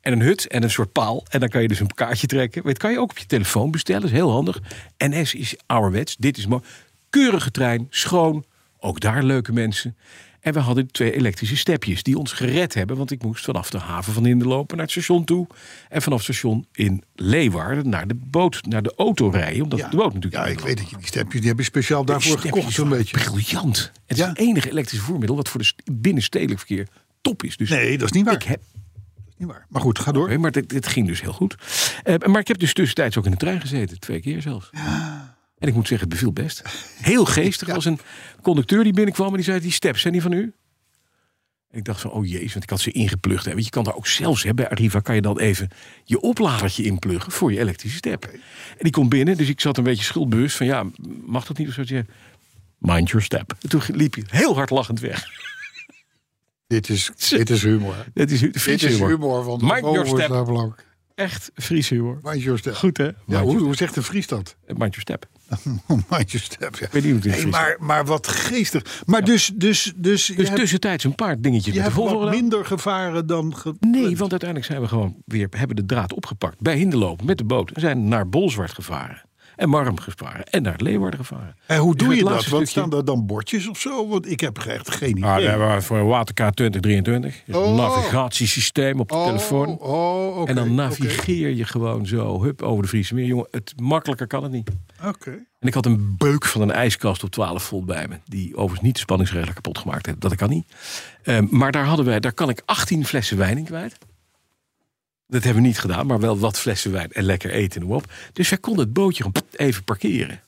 [SPEAKER 3] En een hut en een soort paal. En dan kan je dus een kaartje trekken. Dat kan je ook op je telefoon bestellen. Dat is heel handig. NS is ouderwets. Dit is mooi. Keurige trein. Schoon. Ook daar leuke mensen. En we hadden twee elektrische stepjes die ons gered hebben. Want ik moest vanaf de haven van Hinderlopen naar het station toe. En vanaf het station in Leeuwarden naar de boot, naar de auto rijden. Omdat de boot natuurlijk
[SPEAKER 2] Ja,
[SPEAKER 3] in
[SPEAKER 2] ik
[SPEAKER 3] Hinderloop
[SPEAKER 2] weet dat je die stempjes, die heb je speciaal daarvoor
[SPEAKER 3] Stepjes
[SPEAKER 2] gekocht zo'n
[SPEAKER 3] waren
[SPEAKER 2] beetje.
[SPEAKER 3] Briljant. Het
[SPEAKER 2] Ja.
[SPEAKER 3] is het enige elektrische voermiddel wat voor de st- binnenstedelijk verkeer top is. Dus
[SPEAKER 2] Nee, dat is niet waar.
[SPEAKER 3] ik heb,
[SPEAKER 2] Niet waar. Maar goed, ga door.
[SPEAKER 3] Oké, maar dit, dit ging dus heel goed. Eh, maar ik heb dus tussentijds ook in de trein gezeten. Twee keer zelfs. En ik moet zeggen, het beviel best. Heel geestig. Er was een conducteur die binnenkwam en die zei... die steps, zijn die van u? En ik dacht van, oh jezus, want ik had ze ingeplucht. Hè. Want je kan daar ook zelfs, hè, bij Arriva kan je dan even... je opladertje inpluggen voor je elektrische step. En die komt binnen, dus ik zat een beetje schuldbewust van... ja, mag dat niet? Of zo, Ze zei, mind your step. En toen liep hij heel hard lachend weg. <laughs>
[SPEAKER 2] Dit is, <laughs> dit is humor. hè?
[SPEAKER 3] Dat is
[SPEAKER 2] Dit is humor van de
[SPEAKER 3] Mind your
[SPEAKER 2] Volvo is
[SPEAKER 3] step.
[SPEAKER 2] daar belangrijk.
[SPEAKER 3] Echt Fries humor.
[SPEAKER 2] Mind your step.
[SPEAKER 3] Goed, hè?
[SPEAKER 2] Ja,
[SPEAKER 3] Mind
[SPEAKER 2] hoe,
[SPEAKER 3] your-
[SPEAKER 2] hoe zegt een Fries dat? <laughs>
[SPEAKER 3] Mind your step.
[SPEAKER 2] Mind your step, ja.
[SPEAKER 3] weet niet hoe het in
[SPEAKER 2] Hey,
[SPEAKER 3] Fries
[SPEAKER 2] maar, maar wat geestig. Maar dus, dus, dus, je
[SPEAKER 3] Dus
[SPEAKER 2] hebt,
[SPEAKER 3] tussentijds een paar dingetjes
[SPEAKER 2] je
[SPEAKER 3] met de
[SPEAKER 2] hebt
[SPEAKER 3] Volvo
[SPEAKER 2] wat
[SPEAKER 3] gedaan.
[SPEAKER 2] minder gevaren dan... ge-
[SPEAKER 3] Nee, want uiteindelijk zijn we gewoon weer hebben de draad opgepakt bij Hinderloop met de boot en zijn naar Bolzwart gevaren. en Marm gevaren en naar Leeuwarden gevaren.
[SPEAKER 2] En hoe
[SPEAKER 3] Dus
[SPEAKER 2] doe
[SPEAKER 3] het
[SPEAKER 2] je dat? Wat
[SPEAKER 3] laatste stukje-
[SPEAKER 2] staan daar dan bordjes of zo? Want ik heb echt geen idee.
[SPEAKER 3] Ah, daar waren we voor een waterkaart 2023. Dus
[SPEAKER 2] Oh.
[SPEAKER 3] Een navigatiesysteem op de
[SPEAKER 2] Oh,
[SPEAKER 3] telefoon.
[SPEAKER 2] Oh, oké.
[SPEAKER 3] en dan
[SPEAKER 2] oké,
[SPEAKER 3] navigeer je gewoon zo, hup, over de Friese meer. Jongen, het makkelijker kan het niet.
[SPEAKER 2] Oké.
[SPEAKER 3] En ik had een beuk van een ijskast op 12 volt bij me. Die overigens niet de spanningsregler kapot gemaakt heeft. Dat kan niet. Ehm, maar daar, hadden wij, daar kan ik 18 flessen wijn in kwijt. Dat hebben we niet gedaan, maar wel wat flessen wijn en lekker eten en noem op. Dus wij konden het bootje gewoon pff, even parkeren.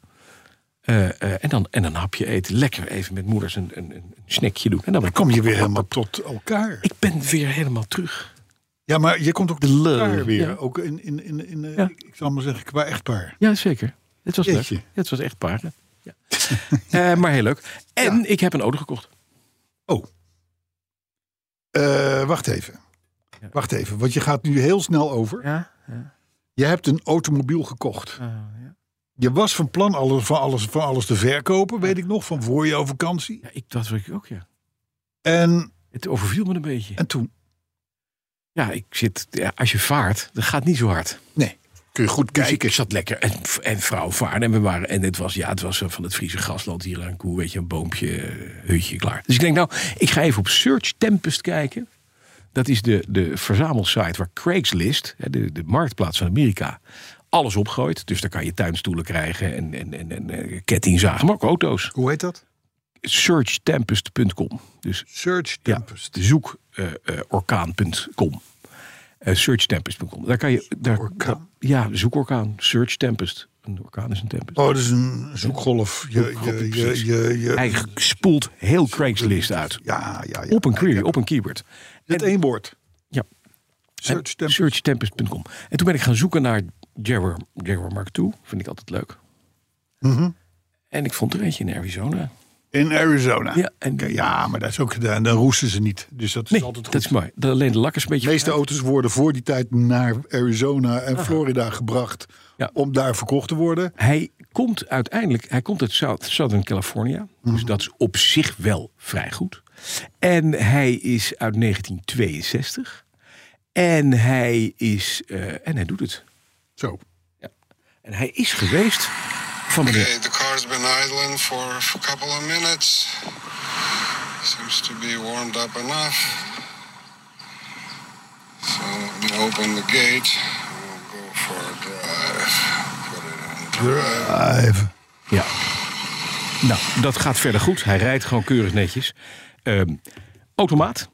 [SPEAKER 3] Eh, eh, en, dan, en dan een hapje eten. Lekker even met moeders een, een, een snackje doen. En dan
[SPEAKER 2] Kom je weer helemaal tot elkaar.
[SPEAKER 3] Ik ben weer helemaal terug.
[SPEAKER 2] Ja, maar je komt ook tot
[SPEAKER 3] Lul.
[SPEAKER 2] elkaar weer.
[SPEAKER 3] Ja.
[SPEAKER 2] Ook in, in, in, in eh,
[SPEAKER 3] Ja.
[SPEAKER 2] ik zal maar zeggen, qua echtpaar.
[SPEAKER 3] Ja, zeker. Het was
[SPEAKER 2] Jeetje.
[SPEAKER 3] leuk. Ja, het was echt paarden. Ja. <laughs> Eh, maar heel leuk. En ik heb een auto gekocht.
[SPEAKER 2] Oh. Eh, wacht even. Wacht even, want je gaat nu heel snel over.
[SPEAKER 3] Ja.
[SPEAKER 2] Je hebt een automobiel gekocht. Je was van plan alles, van, alles, van alles te verkopen, weet ik nog, van voor jouw vakantie.
[SPEAKER 3] Ja, ik, dat was ik ook, ja.
[SPEAKER 2] En,
[SPEAKER 3] Het overviel me een beetje.
[SPEAKER 2] en toen?
[SPEAKER 3] Ja, ik zit, ja, als je vaart, dat gaat niet zo hard.
[SPEAKER 2] Nee. Kun je goed
[SPEAKER 3] Dus ik,
[SPEAKER 2] kijken.
[SPEAKER 3] zat lekker en, en vrouw vaarden. En, we waren, en het, was, ja, het was eh, van het Friese grasland hier aan koe. Weet je, een boompje, eh, hutje, klaar. Dus ik denk, nou, ik ga even op Search Tempest kijken. Dat is de, de verzamelsite waar Craigslist, hè, de, de marktplaats van Amerika, alles opgooit. Dus daar kan je tuinstoelen krijgen en, en, en, en eh, kettingzagen, maar ook auto's.
[SPEAKER 2] Hoe heet dat?
[SPEAKER 3] Searchtempest.com. Dus
[SPEAKER 2] Search Tempest.
[SPEAKER 3] de zoek eh, eh, orkaan.com. Eh, searchtempest.com. Daar kan je. Daar,
[SPEAKER 2] Orkaan?
[SPEAKER 3] daar- ja, zoek orkaan. Search tempest. Een orkaan is een tempest.
[SPEAKER 2] Oh, dat is een zoekgolf. Je, je, je, je, je-
[SPEAKER 3] Hij spoelt heel Craigslist uit.
[SPEAKER 2] ja, ja, ja.
[SPEAKER 3] Op een query, op een keyword.
[SPEAKER 2] Het één woord.
[SPEAKER 3] Ja,
[SPEAKER 2] Search
[SPEAKER 3] en
[SPEAKER 2] Tempest.
[SPEAKER 3] searchtempest.com. En toen ben ik gaan zoeken naar Jaguar, Jaguar Mark II. Vind ik altijd leuk.
[SPEAKER 2] Mhm.
[SPEAKER 3] En ik vond er eentje in Arizona.
[SPEAKER 2] In Arizona.
[SPEAKER 3] Ja, en-
[SPEAKER 2] Oké, ja, maar dat is ook gedaan. Dan roesten ze niet. Dus dat is
[SPEAKER 3] Nee,
[SPEAKER 2] altijd goed.
[SPEAKER 3] dat is mooi. Dat- Alleen de lak is een beetje...
[SPEAKER 2] De meeste auto's worden voor die tijd naar Arizona en Florida gebracht.
[SPEAKER 3] Ja.
[SPEAKER 2] Om daar verkocht te worden.
[SPEAKER 3] Hij komt uiteindelijk, hij komt uit South, Southern California. Dus dat is op zich wel vrij goed. En hij is uit 1962. En hij is, eh, en hij doet het.
[SPEAKER 2] Zo.
[SPEAKER 3] En hij is geweest van meneer
[SPEAKER 4] Okay, the car's been idling for, for a couple of minutes. Seems to be warmed up enough. So let me open the gate. We'll go for a drive. Put it in drive.
[SPEAKER 2] Ah, Even.
[SPEAKER 3] Ja. Nou, dat gaat verder goed. Hij rijdt gewoon keurig netjes. Ehm, automaat.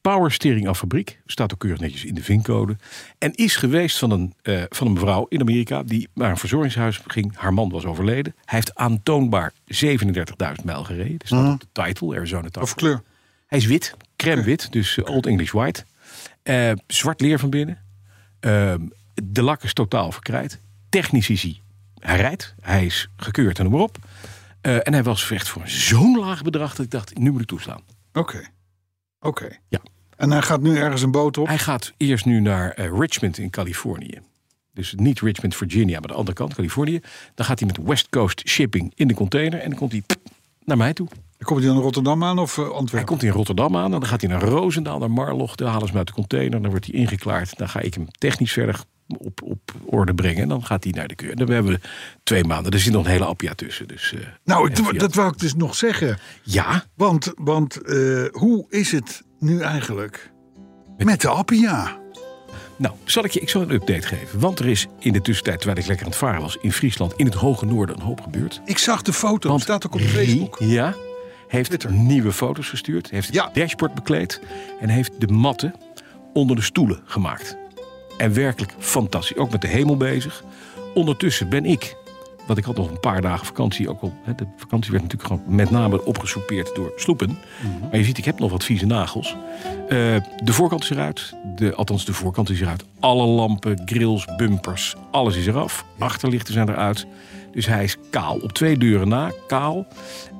[SPEAKER 3] Powersteering af fabriek. Staat ook keurig netjes in de vincode. En is geweest van een, eh, van een mevrouw in Amerika. die naar een verzorgingshuis ging. Haar man was overleden. Hij heeft aantoonbaar 37.000 mijl gereden. Dat staat op de title, Arizona title.
[SPEAKER 2] Of kleur.
[SPEAKER 3] Hij is wit, crème wit, dus eh, Old English White. Eh, zwart leer van binnen. Ehm, de lak is totaal verkrijt. Technisch is hij. Hij rijdt, hij is gekeurd en noem maar op. Eh, en hij was echt voor zo'n laag bedrag dat ik dacht, nu moet ik toeslaan.
[SPEAKER 2] Oké. Oké.
[SPEAKER 3] Ja.
[SPEAKER 2] En hij gaat nu ergens een boot op.
[SPEAKER 3] Hij gaat eerst nu naar eh, Richmond in Californië. Dus niet Richmond, Virginia, maar de andere kant, Californië. Dan gaat hij met West Coast Shipping in de container en dan komt hij naar mij toe.
[SPEAKER 2] Komt hij dan Rotterdam aan of eh,
[SPEAKER 3] Hij
[SPEAKER 2] Antwerpen?
[SPEAKER 3] komt in Rotterdam aan en dan gaat hij naar Roosendaal, naar Marloch. Daar halen ze hem uit de container, dan wordt hij ingeklaard. Dan ga ik hem technisch verder op, op orde brengen. En dan gaat hij naar de keur. Dan hebben we twee maanden. Er zit nog een hele appia tussen. Dus, eh,
[SPEAKER 2] Nou,
[SPEAKER 3] en
[SPEAKER 2] ik-
[SPEAKER 3] Fiat.
[SPEAKER 2] dat wou ik dus nog zeggen.
[SPEAKER 3] Ja,
[SPEAKER 2] Want, want eh, hoe is het nu eigenlijk? Met de Appia.
[SPEAKER 3] nou, zal ik je ik zal een update geven. Want er is in de tussentijd, terwijl ik lekker aan het varen was... in Friesland, in het hoge noorden, een hoop gebeurd.
[SPEAKER 2] Ik zag de foto.
[SPEAKER 3] Want
[SPEAKER 2] staat ook op
[SPEAKER 3] Rie,
[SPEAKER 2] Facebook.
[SPEAKER 3] Ja, heeft nieuwe foto's gestuurd. Heeft het
[SPEAKER 2] Ja.
[SPEAKER 3] dashboard bekleed. En heeft de matten onder de stoelen gemaakt. En werkelijk fantastisch. Ook met de hemel bezig. Ondertussen ben ik... Want ik had nog een paar dagen vakantie. Ook al, hè, de vakantie werd natuurlijk gewoon met name opgesoupeerd door sloepen. Maar je ziet, ik heb nog wat vieze nagels. Eh, de voorkant is eruit. De, althans, de voorkant is eruit. Alle lampen, grills, bumpers, alles is eraf. Achterlichten zijn eruit. Dus hij is kaal. Op twee deuren na, kaal.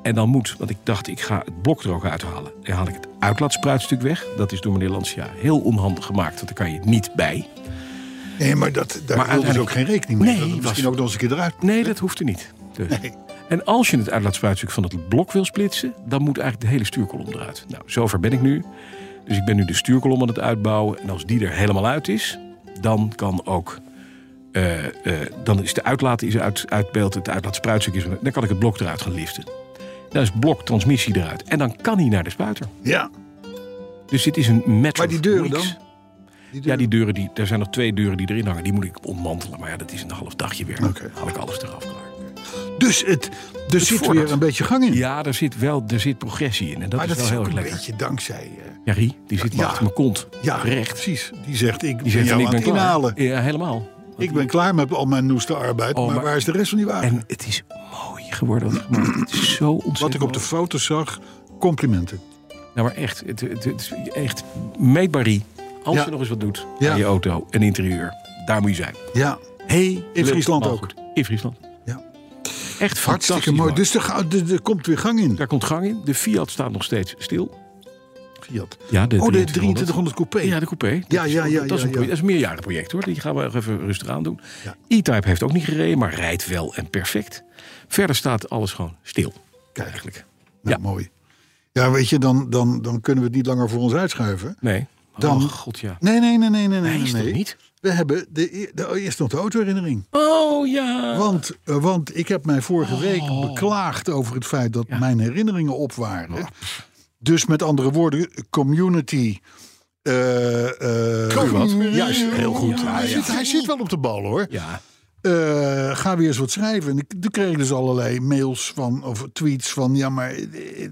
[SPEAKER 3] En dan moet, want ik dacht, ik ga het blok er ook uithalen. Dan haal ik het uitlaatspruitstuk weg. Dat is door meneer Lancia heel onhandig gemaakt, want daar kan je niet bij.
[SPEAKER 2] Nee, maar dat, daar
[SPEAKER 3] Maar
[SPEAKER 2] hielden ze ook
[SPEAKER 3] uiteindelijk-
[SPEAKER 2] geen rekening mee.
[SPEAKER 3] Nee,
[SPEAKER 2] dat het misschien
[SPEAKER 3] was-
[SPEAKER 2] ook nog eens een keer eruit.
[SPEAKER 3] Nee, dat hoeft er niet. Dus.
[SPEAKER 2] Nee.
[SPEAKER 3] En als je het uitlaatspruitstuk van het blok wil splitsen, dan moet eigenlijk de hele stuurkolom eruit. Nou, zover ben ik nu. Dus ik ben nu de stuurkolom aan het uitbouwen. En als die er helemaal uit is, dan kan ook eh, eh, eh, dan is de uitlaat is uit, uit beeld, het uitlaatspruitstuk is... Dan kan ik het blok eruit gaan liften. Dan is blok transmissie eruit. En dan kan hij naar de spuiter.
[SPEAKER 2] Ja,
[SPEAKER 3] Dus dit is een match
[SPEAKER 2] maar
[SPEAKER 3] of
[SPEAKER 2] die deuren
[SPEAKER 3] weeks.
[SPEAKER 2] dan?
[SPEAKER 3] Ja, die deuren, die, er zijn nog twee deuren die erin hangen. Die moet ik ontmantelen. Maar ja, dat is een half dagje weer.
[SPEAKER 2] Oké.
[SPEAKER 3] Dan haal ik alles eraf klaar.
[SPEAKER 2] Dus het, er zit
[SPEAKER 3] vordert.
[SPEAKER 2] weer een beetje gang in.
[SPEAKER 3] Ja, er zit wel er zit progressie in. En dat
[SPEAKER 2] maar
[SPEAKER 3] is
[SPEAKER 2] dat
[SPEAKER 3] wel
[SPEAKER 2] is
[SPEAKER 3] heel
[SPEAKER 2] ook
[SPEAKER 3] erg
[SPEAKER 2] een
[SPEAKER 3] lekker.
[SPEAKER 2] beetje dankzij... eh,
[SPEAKER 3] Ja, Rie, die zit maar
[SPEAKER 2] Ja.
[SPEAKER 3] achter mijn kont.
[SPEAKER 2] ja,
[SPEAKER 3] recht.
[SPEAKER 2] precies. Die zegt, ik
[SPEAKER 3] Die
[SPEAKER 2] ben
[SPEAKER 3] zegt, en
[SPEAKER 2] jou
[SPEAKER 3] ik
[SPEAKER 2] aan
[SPEAKER 3] ben
[SPEAKER 2] het
[SPEAKER 3] klaar.
[SPEAKER 2] inhalen.
[SPEAKER 3] Ja, helemaal.
[SPEAKER 2] Ik ben klaar met al mijn noeste arbeid,
[SPEAKER 3] Oh,
[SPEAKER 2] maar,
[SPEAKER 3] maar-
[SPEAKER 2] waar is de rest van die wagen?
[SPEAKER 3] En het is mooi geworden. wat ik gemaakt heb. Het is zo ontzettend
[SPEAKER 2] Wat ik op de
[SPEAKER 3] mooi.
[SPEAKER 2] foto zag, complimenten.
[SPEAKER 3] Nou, maar echt, het, het, het is echt meetbaar, Rie. Als
[SPEAKER 2] Ja.
[SPEAKER 3] je nog eens wat doet
[SPEAKER 2] Ja.
[SPEAKER 3] aan je auto en interieur. Daar moet je zijn.
[SPEAKER 2] Ja,
[SPEAKER 3] Hey,
[SPEAKER 2] Friesland ook.
[SPEAKER 3] In Friesland.
[SPEAKER 2] Ja.
[SPEAKER 3] Echt
[SPEAKER 2] hartstikke mooi. Dus er, ga- er- er komt weer gang in.
[SPEAKER 3] Daar komt gang in. De Fiat staat nog steeds stil.
[SPEAKER 2] Fiat.
[SPEAKER 3] Ja, de
[SPEAKER 2] Oh, de 2300 coupé.
[SPEAKER 3] Ja, de coupé.
[SPEAKER 2] Ja,
[SPEAKER 3] Dat is-
[SPEAKER 2] ja, ja,
[SPEAKER 3] Dat is een,
[SPEAKER 2] ja,
[SPEAKER 3] project-
[SPEAKER 2] ja.
[SPEAKER 3] dat is een meerjarenproject hoor. Die gaan we nog even rustig aan doen.
[SPEAKER 2] Ja.
[SPEAKER 3] E-Type heeft ook niet gereden, maar rijdt wel en perfect. Verder staat alles gewoon stil.
[SPEAKER 2] Kijk.
[SPEAKER 3] Eigenlijk.
[SPEAKER 2] Nou,
[SPEAKER 3] Ja.
[SPEAKER 2] mooi. Ja, weet je, dan, dan, dan kunnen we het niet langer voor ons uitschuiven.
[SPEAKER 3] Nee.
[SPEAKER 2] Dan-
[SPEAKER 3] Oh, god ja.
[SPEAKER 2] Nee, nee, nee, nee, nee. nee,
[SPEAKER 3] Hij is
[SPEAKER 2] nee.
[SPEAKER 3] toch niet?
[SPEAKER 2] We hebben de, e- de, oh, eerst nog de autoherinnering.
[SPEAKER 3] Oh ja.
[SPEAKER 2] Want, eh, want ik heb mij vorige
[SPEAKER 3] Oh.
[SPEAKER 2] week beklaagd over het feit dat mijn herinneringen op waren.
[SPEAKER 3] Oh.
[SPEAKER 2] Dus met andere woorden, community. eh eh Juist, heel goed. hij, Zit, hij zit wel op de bal hoor.
[SPEAKER 3] Ja.
[SPEAKER 2] Eh, ga weer eens wat schrijven. En ik, dan kreeg ik dus allerlei mails van, of tweets van: ja, maar eh, eh,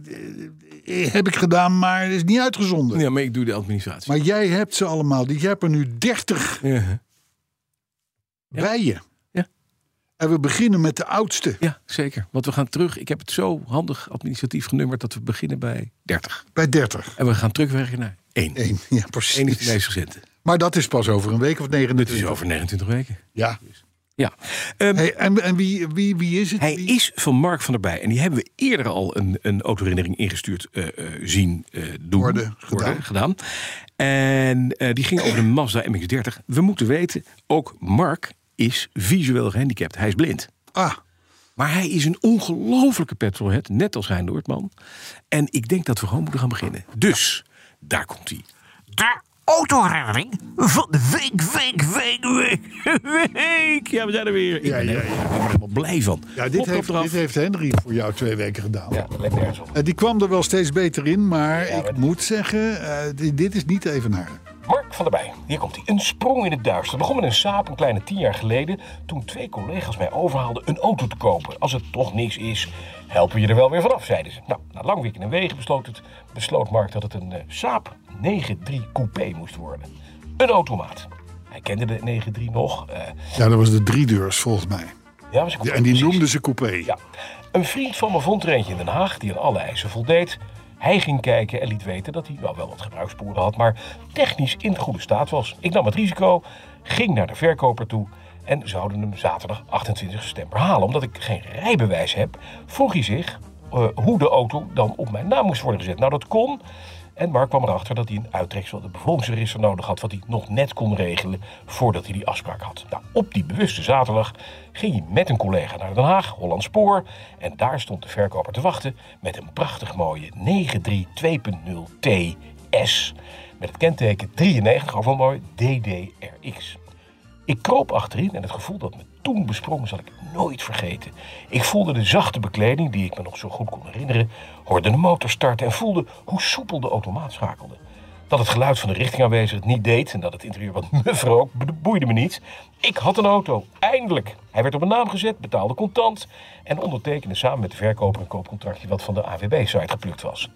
[SPEAKER 2] eh, heb ik gedaan, maar het is niet uitgezonden.
[SPEAKER 3] ja, maar ik doe de administratie.
[SPEAKER 2] Maar jij hebt ze allemaal. die- Jij hebt er nu 30
[SPEAKER 3] Ja.
[SPEAKER 2] bij je.
[SPEAKER 3] Ja.
[SPEAKER 2] En we beginnen met de oudste.
[SPEAKER 3] ja, zeker. Want we gaan terug. Ik heb het zo handig administratief genummerd dat we beginnen bij 30.
[SPEAKER 2] Bij 30.
[SPEAKER 3] En we gaan terugwerken naar 1.
[SPEAKER 2] Eén. Ja, precies.
[SPEAKER 3] 1 is de meest recente.
[SPEAKER 2] Maar dat is pas over een week of
[SPEAKER 3] Het
[SPEAKER 2] 29.
[SPEAKER 3] is over 29 weken.
[SPEAKER 2] Ja.
[SPEAKER 3] Ja. Ehm,
[SPEAKER 2] Hey, en en wie, wie, wie is het?
[SPEAKER 3] Hij
[SPEAKER 2] Wie-
[SPEAKER 3] is van Mark van der Bij. En die hebben we eerder al een, een autoherinnering ingestuurd eh, eh, zien eh, doen.
[SPEAKER 2] Worden gedaan.
[SPEAKER 3] gedaan. En eh, die ging over de Mazda MX-30. We moeten weten, ook Mark is visueel gehandicapt. Hij is blind.
[SPEAKER 2] Ah,
[SPEAKER 3] Maar hij is een ongelofelijke petrolhead, net als Hein Noordman. En ik denk dat we gewoon moeten gaan beginnen. Dus, daar komt hij.
[SPEAKER 5] de autoherinnering van de week, week, week, week, week.
[SPEAKER 3] Ja, we zijn er weer. Ik
[SPEAKER 2] Ja,
[SPEAKER 3] ben
[SPEAKER 2] ja,
[SPEAKER 3] er helemaal blij van.
[SPEAKER 2] ja, dit,
[SPEAKER 3] Plop
[SPEAKER 2] heeft,
[SPEAKER 3] eraf.
[SPEAKER 2] dit heeft Henry voor jou twee weken gedaan.
[SPEAKER 3] Ja, dat lijkt nergens op.
[SPEAKER 2] En die kwam er wel steeds beter in, maar ik moet zeggen, eh, di- dit is niet even naar.
[SPEAKER 3] Mark van der Bij, hier komt hij. Een sprong in het duister. Het begon met een saap een kleine tien jaar geleden... toen twee collega's mij overhaalden een auto te kopen. Als het toch niks is, helpen we je er wel weer vanaf, zeiden ze. Nou, na lang wikken en wegen besloot, het, besloot Mark dat het een eh, Saab 9-3 coupé moest worden. Een automaat. Hij kende de 9-3 nog. eh,
[SPEAKER 2] Ja, dat was de driedeurs volgens mij.
[SPEAKER 3] ja, was een
[SPEAKER 2] Ja,
[SPEAKER 3] coupé,
[SPEAKER 2] en die
[SPEAKER 3] precies.
[SPEAKER 2] noemden ze coupé.
[SPEAKER 3] Ja. Een vriend van me vond er eentje in Den Haag die aan alle eisen voldeed. Hij ging kijken en liet weten dat hij nou wel wat gebruikssporen had, maar technisch in goede staat was. Ik nam het risico, ging naar de verkoper toe en zouden hem zaterdag 28 september halen. Omdat ik geen rijbewijs heb, vroeg hij zich eh, hoe de auto dan op mijn naam moest worden gezet. Nou, dat kon. En Mark kwam erachter dat hij een uittreksel van de bevolkingsregister nodig had, wat hij nog net kon regelen voordat hij die afspraak had. Nou, op die bewuste zaterdag ging hij met een collega naar Den Haag, Hollandspoor, en daar stond de verkoper te wachten met een prachtig mooie 932.0 TS met het kenteken 93, ook wel mooi, DDRX. Ik kroop achterin en het gevoel dat me toen besprong zal ik nooit vergeten. Ik voelde de zachte bekleding die ik me nog zo goed kon herinneren, hoorde de motor starten en voelde hoe soepel de automaat schakelde. Dat het geluid van de richting aanwezig het niet deed en dat het interieur wat <laughs> muff rook, be- boeide me niet. Ik had een auto, eindelijk. Hij werd op een naam gezet, betaalde contant en ondertekende samen met de verkoper een koopcontractje wat van de AWB-site geplukt was.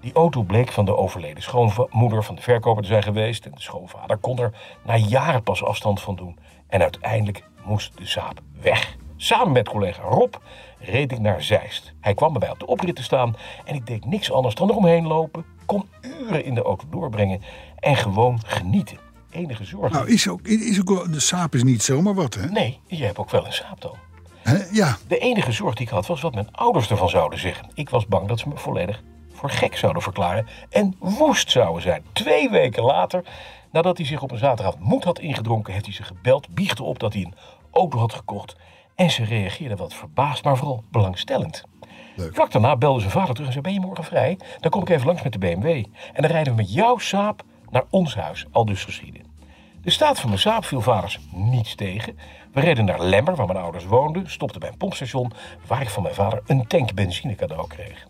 [SPEAKER 3] Die auto bleek van de overleden schoonmoeder van de verkoper te zijn geweest. En de schoonvader kon er na jaren pas afstand van doen. En uiteindelijk moest de zaap weg. Samen met collega Rob reed ik naar Zeist. Hij kwam bij mij op de oprit te staan en ik deed niks anders dan eromheen lopen. Kon uren in de auto doorbrengen en gewoon genieten. Enige zorg.
[SPEAKER 2] Nou, is ook, is ook wel, de saap is niet zomaar wat, hè?
[SPEAKER 3] Nee, je hebt ook wel een saap dan.
[SPEAKER 2] Hè? Ja,
[SPEAKER 3] De enige zorg die ik had was wat mijn ouders ervan zouden zeggen. Ik was bang dat ze me volledig voor gek zouden verklaren en woest zouden zijn. Twee weken later, nadat hij zich op een zaterdag moed had ingedronken, heeft hij ze gebeld, biechtte op dat hij een auto had gekocht. En ze reageerden wat verbaasd, maar vooral belangstellend. Vlak daarna belde zijn vader terug en zei: Ben je morgen vrij? Dan kom ik even langs met de BMW. En dan rijden we met jouw saap naar ons huis, al dus geschieden. De staat van mijn saap viel vaders niets tegen,
[SPEAKER 6] We reden naar Lemmer, waar mijn ouders woonden, stopten bij een pompstation... waar ik van mijn vader een tank benzine cadeau kreeg.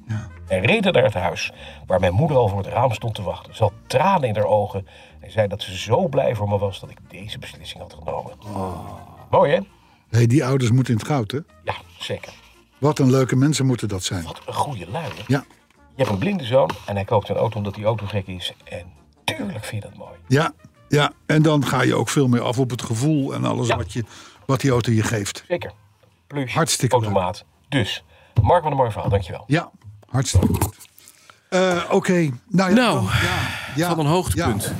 [SPEAKER 6] En reden naar het huis, waar mijn moeder al voor het raam stond te wachten. Ze had tranen in haar ogen en zei dat ze zo blij voor me was... dat ik deze beslissing had genomen.
[SPEAKER 2] Oh.
[SPEAKER 6] Mooi, hè?
[SPEAKER 2] Hey, die ouders moeten in het goud, hè?
[SPEAKER 6] Ja, zeker.
[SPEAKER 2] Wat een leuke mensen moeten dat zijn.
[SPEAKER 6] Wat een goede lui, hè?
[SPEAKER 2] Ja,
[SPEAKER 6] Je hebt een blinde zoon en hij koopt een auto omdat die auto gek is. En tuurlijk vind je dat mooi.
[SPEAKER 2] ja, ja. En dan ga je ook veel meer af op het gevoel en alles
[SPEAKER 6] Ja.
[SPEAKER 2] wat, je, wat die auto je geeft.
[SPEAKER 6] Zeker. Plus,
[SPEAKER 2] Hartstikke leuk.
[SPEAKER 6] automaat. Dus, Mark, wat een mooi verhaal. Dankjewel.
[SPEAKER 2] Ja, hartstikke goed. Eh, Oké, nou
[SPEAKER 3] Nou,
[SPEAKER 2] ja. dan- ja, ja,
[SPEAKER 3] van een hoogtepunt.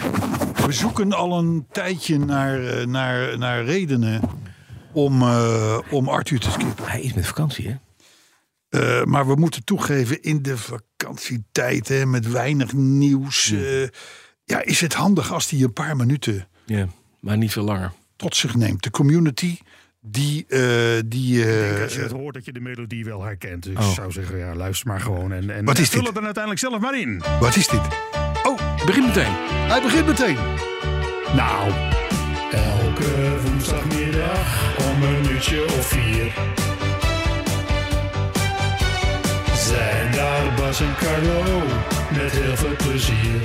[SPEAKER 2] ja. We zoeken al een tijdje naar, eh, naar, naar redenen om, eh, om Arthur te skippen.
[SPEAKER 3] Hij is met vakantie, hè?
[SPEAKER 2] Eh, maar we moeten toegeven, in de vakantietijd hè, met weinig nieuws... eh, ja, is het handig als die een paar minuten
[SPEAKER 3] Ja, maar niet veel langer.
[SPEAKER 2] tot zich neemt. De community die... eh, die eh, Oh.
[SPEAKER 7] Als je het hoort dat je de melodie wel herkent. Dus ik zou zeggen, ja, luister maar gewoon. En, en eh,
[SPEAKER 2] Wat is
[SPEAKER 7] vul
[SPEAKER 2] dit?
[SPEAKER 7] het dan uiteindelijk zelf maar in.
[SPEAKER 2] wat is dit?
[SPEAKER 3] Begin Oh, meteen.
[SPEAKER 2] Hij begint meteen.
[SPEAKER 7] Nou. Elke woensdagmiddag om een uurtje of vier. Zijn daar Bas en Carlo met heel veel plezier.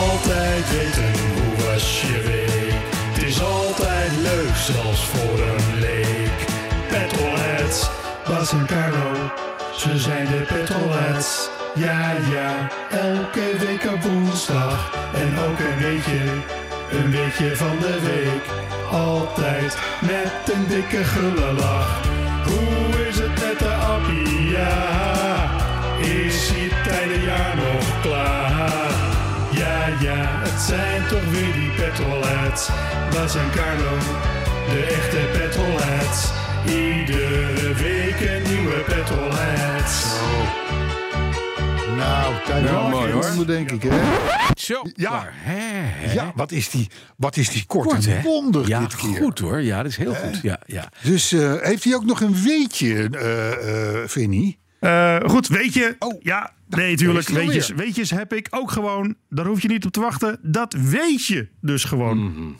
[SPEAKER 7] Altijd weten hoe was je week. Het is altijd leuk, zelfs voor een leek. Petrolheads, Bas en Carlo, ze zijn de petrolheads. Ja, ja, elke week op woensdag. En ook een beetje, een beetje van de week. Altijd met een dikke gullenlach. Hoe is het met de appie? Ja, is hij tijdens jaar nog klaar? Ja, ja, het zijn toch weer die petrolheads. Bas en Carlo, de echte petrolheads. Iedere week een nieuwe petrolheads.
[SPEAKER 2] Nou, kijk wel.
[SPEAKER 3] mooi, hoor.
[SPEAKER 2] denk ik, hè?
[SPEAKER 3] Zo.
[SPEAKER 2] Ja.
[SPEAKER 3] klaar. Hè, hè.
[SPEAKER 2] Ja, wat is die, wat is die kort,
[SPEAKER 3] Kort,
[SPEAKER 2] en
[SPEAKER 3] hè?
[SPEAKER 2] bondig
[SPEAKER 3] ja,
[SPEAKER 2] dit keer.
[SPEAKER 3] goed hoor. Ja, dat is heel goed. Ja, ja.
[SPEAKER 2] Dus eh, heeft hij ook nog een weetje, eh eh Vinnie?
[SPEAKER 7] Eh, goed, weet je.
[SPEAKER 2] Oh.
[SPEAKER 7] ja, nee, tuurlijk.
[SPEAKER 2] Daar is hij
[SPEAKER 7] Weetjes,
[SPEAKER 2] alweer.
[SPEAKER 7] weetjes heb ik ook gewoon. Daar hoef je niet op te wachten. Dat weet je dus gewoon.
[SPEAKER 2] Hmm.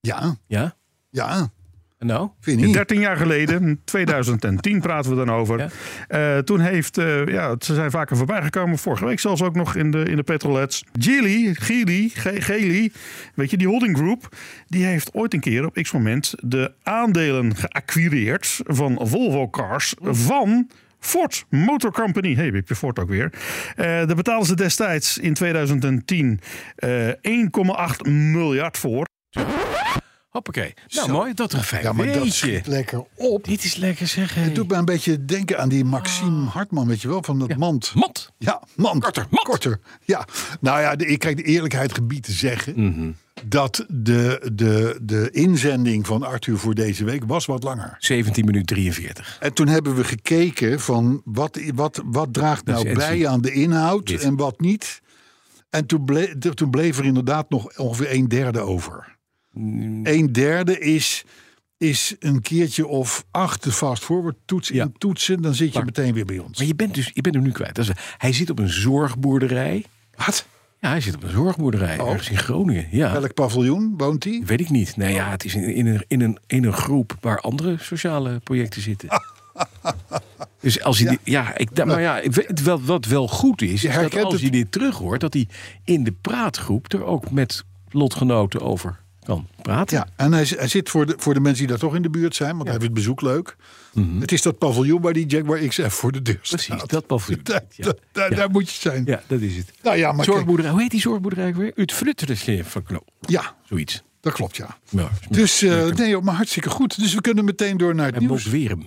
[SPEAKER 2] Ja,
[SPEAKER 3] Ja?
[SPEAKER 2] ja,
[SPEAKER 3] En nou?
[SPEAKER 2] Vinnie.
[SPEAKER 7] 13 jaar geleden, 2010 praten we dan over.
[SPEAKER 3] Ja.
[SPEAKER 7] Eh, toen heeft, eh, ja, ze zijn vaker voorbij gekomen. Vorige week zelfs ook nog in de, in de petrolets. Gili, Gili, Ge- Geli, weet je, die holding group. Die heeft ooit een keer op x moment de aandelen geacquireerd van Volvo Cars van... Ford Motor Company. Hey, heb je Ford ook weer. Eh daar betaalden ze destijds in 2010 eh, 1,8 miljard voor.
[SPEAKER 3] Hoppakee. Nou, mooi. Dat er fijn.
[SPEAKER 2] Ja, maar dat
[SPEAKER 3] Weetje.
[SPEAKER 2] schiet lekker op.
[SPEAKER 3] Dit is lekker zeg. hè.
[SPEAKER 2] Het doet me een beetje denken aan die Maxime
[SPEAKER 3] Ah.
[SPEAKER 2] Hartman, weet je wel, van dat mand.
[SPEAKER 3] Mat.
[SPEAKER 2] Ja, mand.
[SPEAKER 3] Korter, mand.
[SPEAKER 2] Korter, ja. Nou ja, de, ik krijg de eerlijkheid gebied te zeggen...
[SPEAKER 3] Mhm.
[SPEAKER 2] dat de, de, de inzending van Arthur voor deze week was wat langer.
[SPEAKER 3] 17 minuut 43.
[SPEAKER 2] En toen hebben we gekeken van wat, wat, wat draagt
[SPEAKER 3] Dat is
[SPEAKER 2] nou
[SPEAKER 3] Etsy.
[SPEAKER 2] bij aan de inhoud
[SPEAKER 3] Dit.
[SPEAKER 2] en wat niet. En toen, ble- de- toen bleef er inderdaad nog ongeveer een derde over.
[SPEAKER 3] Mm.
[SPEAKER 2] Een derde is, is een keertje of acht de fast forward toets
[SPEAKER 3] Ja.
[SPEAKER 2] in toetsen. Dan zit je meteen weer bij ons.
[SPEAKER 3] Maar je bent, dus, je bent hem nu kwijt. Dat is- hij zit op een zorgboerderij.
[SPEAKER 2] Wat? Oh.
[SPEAKER 3] Ja, hij zit op een zorgboerderij. Ergens in Groningen. Ja.
[SPEAKER 2] Welk paviljoen woont hij?
[SPEAKER 3] Weet ik niet. Nou ja, het is in, in, een, in, een, in een groep waar andere sociale projecten zitten.
[SPEAKER 2] Oh.
[SPEAKER 3] Dus als hij. Ja, ja ik, da- maar ja, ik weet wel, wat wel goed is. is dat
[SPEAKER 2] herkent
[SPEAKER 3] als
[SPEAKER 2] het.
[SPEAKER 3] hij dit terug hoort, dat hij in de praatgroep er ook met lotgenoten over kan praten.
[SPEAKER 2] Ja, en hij, z- hij zit voor de, voor de mensen die daar toch in de buurt zijn, want hij vindt het bezoek leuk. Het is dat paviljoen waar die Jaguar XF voor de deur staat.
[SPEAKER 3] Mhm. Precies, dat
[SPEAKER 2] <laughs>
[SPEAKER 3] paviljoen.
[SPEAKER 2] Daar,
[SPEAKER 3] Ja.
[SPEAKER 2] daar-
[SPEAKER 3] Ja.
[SPEAKER 2] daar moet je zijn.
[SPEAKER 3] Ja, dat is het.
[SPEAKER 2] Nou ja, maar kijk-
[SPEAKER 3] zorgboerderij, hoe heet die zorgboerderij ook weer? Uit Fluttersleer van Knoop.
[SPEAKER 2] ja,
[SPEAKER 3] Zoiets.
[SPEAKER 2] dat klopt ja.
[SPEAKER 3] Ja,
[SPEAKER 2] Dus eh, nee, joh, maar hartstikke goed. Dus we kunnen meteen door naar het
[SPEAKER 3] en Bob
[SPEAKER 2] nieuws.
[SPEAKER 3] Werum.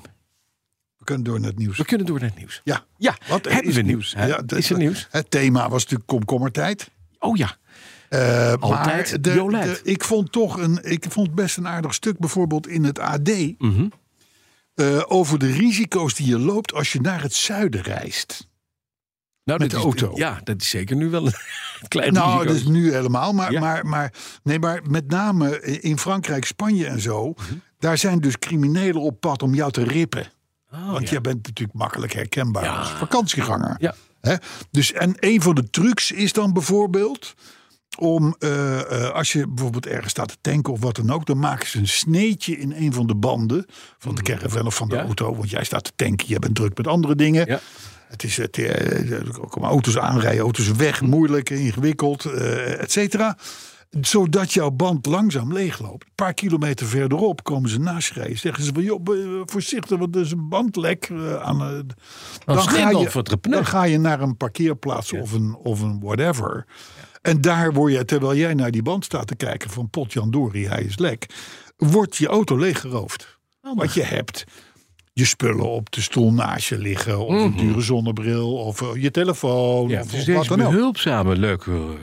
[SPEAKER 2] We kunnen door naar het nieuws.
[SPEAKER 3] We kunnen door naar het nieuws.
[SPEAKER 2] Ja.
[SPEAKER 3] Ja,
[SPEAKER 2] Wat
[SPEAKER 3] hebben
[SPEAKER 2] is
[SPEAKER 3] we nieuws? hè?
[SPEAKER 2] Ja, dat-
[SPEAKER 3] is er nieuws?
[SPEAKER 2] Het thema was natuurlijk komkommertijd.
[SPEAKER 3] Oh ja.
[SPEAKER 2] Eh,
[SPEAKER 3] Altijd
[SPEAKER 2] maar de,
[SPEAKER 3] Jolijt.
[SPEAKER 2] de- ik vond toch een, ik vond best een aardig stuk bijvoorbeeld in het AD. eh, over de risico's die je loopt als je naar het zuiden reist.
[SPEAKER 3] Nou,
[SPEAKER 2] Met
[SPEAKER 3] dat
[SPEAKER 2] de
[SPEAKER 3] is-
[SPEAKER 2] auto.
[SPEAKER 3] Ja, dat is zeker nu wel een <laughs> klein
[SPEAKER 2] Nou,
[SPEAKER 3] risico.
[SPEAKER 2] dat is nu helemaal. Maar,
[SPEAKER 3] Ja.
[SPEAKER 2] maar, maar, nee, maar met name in Frankrijk, Spanje en zo.
[SPEAKER 3] Mhm.
[SPEAKER 2] Daar zijn dus criminelen op pad om jou te rippen.
[SPEAKER 3] Oh,
[SPEAKER 2] Want jij bent natuurlijk makkelijk herkenbaar als vakantieganger.
[SPEAKER 3] Ja.
[SPEAKER 2] Hè? Dus, en een van de trucs is dan bijvoorbeeld om, eh, eh, als je bijvoorbeeld ergens staat te tanken of wat dan ook, dan maken ze een sneetje in een van de banden van de caravan of van de
[SPEAKER 3] Hmm. Ja.
[SPEAKER 2] auto. Want jij staat te tanken, je bent druk met andere dingen.
[SPEAKER 3] Ja.
[SPEAKER 2] Het is het, eh, er komen auto's aanrijden, auto's weg, moeilijk, ingewikkeld, eh et cetera. Zodat jouw band langzaam leegloopt. Een paar kilometer verderop komen ze naast je rijden. Zeggen ze van, joh, be- voorzichtig, want er is een bandlek. eh, aan, eh, d- dan,
[SPEAKER 3] Oh, slim dan voor het repneu.
[SPEAKER 2] dan ga je naar een parkeerplaats of, een, of een whatever. En daar word je, terwijl jij naar die band staat te kijken van potjandori, hij is lek. Wordt je auto leeggeroofd. Wat je hebt je spullen op de stoel naast je liggen. Of een dure zonnebril. Of eh, je telefoon.
[SPEAKER 3] Mhm. Ja,
[SPEAKER 2] of,
[SPEAKER 3] dus
[SPEAKER 2] of wat
[SPEAKER 3] deze
[SPEAKER 2] dan ook.
[SPEAKER 3] behulpzame, leuke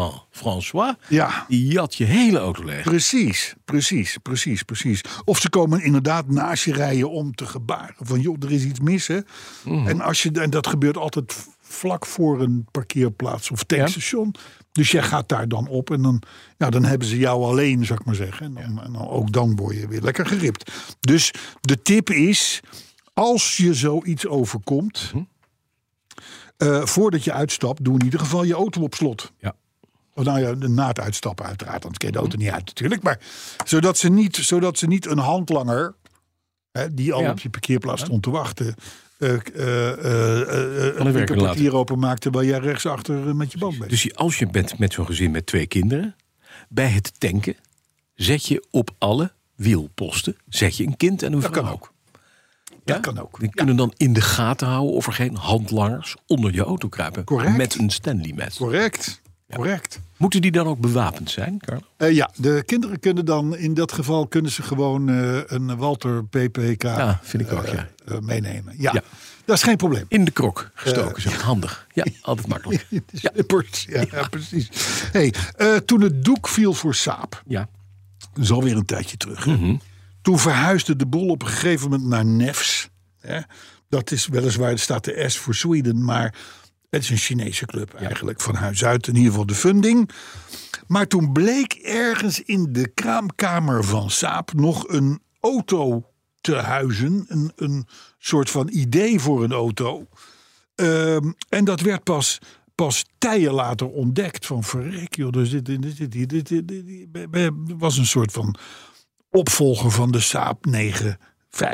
[SPEAKER 3] Jean-François...
[SPEAKER 2] Ja,
[SPEAKER 3] die jat je hele auto leeg.
[SPEAKER 2] precies. Precies, precies, precies. Of ze komen inderdaad naast je rijden om te gebaren. Van joh, er is iets mis hè. En, als je, en dat gebeurt altijd v- vlak voor een parkeerplaats of tankstation. Dus jij gaat daar dan op en dan, ja, dan hebben ze jou alleen, zou ik maar zeggen. En, dan, en dan, ook dan word je weer lekker geript. Dus de tip is, als je zoiets overkomt... Eh, voordat je uitstapt, doe in ieder geval je auto op slot.
[SPEAKER 3] Ja.
[SPEAKER 2] Of nou ja, na het uitstappen uiteraard, want ken je de auto
[SPEAKER 3] Mhm.
[SPEAKER 2] niet uit natuurlijk. Maar zodat ze niet, zodat ze niet een handlanger, hè, die al
[SPEAKER 3] Ja.
[SPEAKER 2] op je parkeerplaats stond te wachten, eh eh eh, eh, eh,
[SPEAKER 3] werken
[SPEAKER 2] een
[SPEAKER 3] laten.
[SPEAKER 2] portier openmaakt terwijl jij rechtsachter eh, met je band bent.
[SPEAKER 3] Dus je- als je bent met zo'n gezin met twee kinderen... bij het tanken zet je op alle wielposten zet je een kind en een
[SPEAKER 2] Dat
[SPEAKER 3] vrouw.
[SPEAKER 2] kan ook.
[SPEAKER 3] dus Ja?
[SPEAKER 2] Dat kan ook.
[SPEAKER 3] Die kunnen dan in de gaten houden of er geen handlangers onder je auto kruipen.
[SPEAKER 2] Correct.
[SPEAKER 3] Met een Stanley mes.
[SPEAKER 2] Correct. Correct.
[SPEAKER 3] Moeten die dan ook bewapend zijn, Carlo?
[SPEAKER 2] Eh, ja, de kinderen kunnen dan in dat geval kunnen ze gewoon eh, een Walter PPK
[SPEAKER 3] Ja, vind ik ook,
[SPEAKER 2] eh,
[SPEAKER 3] ja.
[SPEAKER 2] eh, meenemen. Ja.
[SPEAKER 3] Ja.
[SPEAKER 2] dat is geen <laughs> probleem.
[SPEAKER 3] In de krok
[SPEAKER 2] Eh,
[SPEAKER 3] gestoken, zeg. Handig. Ja, altijd
[SPEAKER 2] <laughs>
[SPEAKER 3] makkelijk.
[SPEAKER 2] In de slippers. Ja, ja, precies. Hey, eh, toen het doek viel voor Saap,
[SPEAKER 3] Ja.
[SPEAKER 2] dat is alweer een tijdje terug. hè. Toen verhuisde de boel op een gegeven moment naar Nefs. Hè? Dat is weliswaar, er staat de S voor Sweden, maar het is een Chinese club eigenlijk van huis uit. In ieder geval de funding. Maar toen bleek ergens in de kraamkamer van Saap nog een auto te huizen. Een, een soort van idee voor een auto. Ehm, en dat werd pas, pas tijden later ontdekt. Van verrek joh, er zit, er zit hier- dit, dit, dit, dit- be- be- was een soort van opvolger van de Saab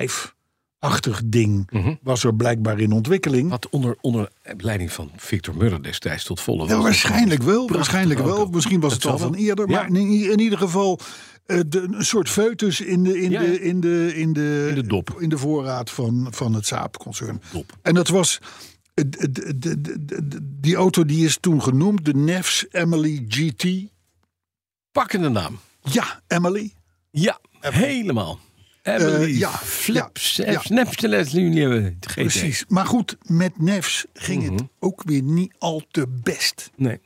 [SPEAKER 2] 9-5-achtig ding. Was er blijkbaar in ontwikkeling.
[SPEAKER 3] Wat onder, onder leiding van Victor Muller destijds tot volle
[SPEAKER 2] Ja,
[SPEAKER 3] was.
[SPEAKER 2] waarschijnlijk wel,
[SPEAKER 3] Prachtig
[SPEAKER 2] waarschijnlijk wel.
[SPEAKER 3] auto.
[SPEAKER 2] Misschien was
[SPEAKER 3] Dat
[SPEAKER 2] het al
[SPEAKER 3] zal
[SPEAKER 2] van
[SPEAKER 3] wel.
[SPEAKER 2] eerder,
[SPEAKER 3] Ja.
[SPEAKER 2] maar in, in ieder geval eh, de, een soort foetus in de, in
[SPEAKER 3] Ja, ja.
[SPEAKER 2] de, in de, in de,
[SPEAKER 3] In de dop.
[SPEAKER 2] in de voorraad van, van het Saab-concern.
[SPEAKER 3] Dop.
[SPEAKER 2] En dat was. eh, d- d- d- d- d- Die auto die is toen genoemd, de Nefs Emily GT.
[SPEAKER 3] Pakkende naam.
[SPEAKER 2] Ja, Emily.
[SPEAKER 3] Ja, helemaal. Emily,
[SPEAKER 2] Eh, ja,
[SPEAKER 3] flips, eh,
[SPEAKER 2] ja, ja.
[SPEAKER 3] snaps, nu
[SPEAKER 2] Precies. Maar goed, met Nefs ging het ook weer niet al te best.
[SPEAKER 3] Mhm. Nee.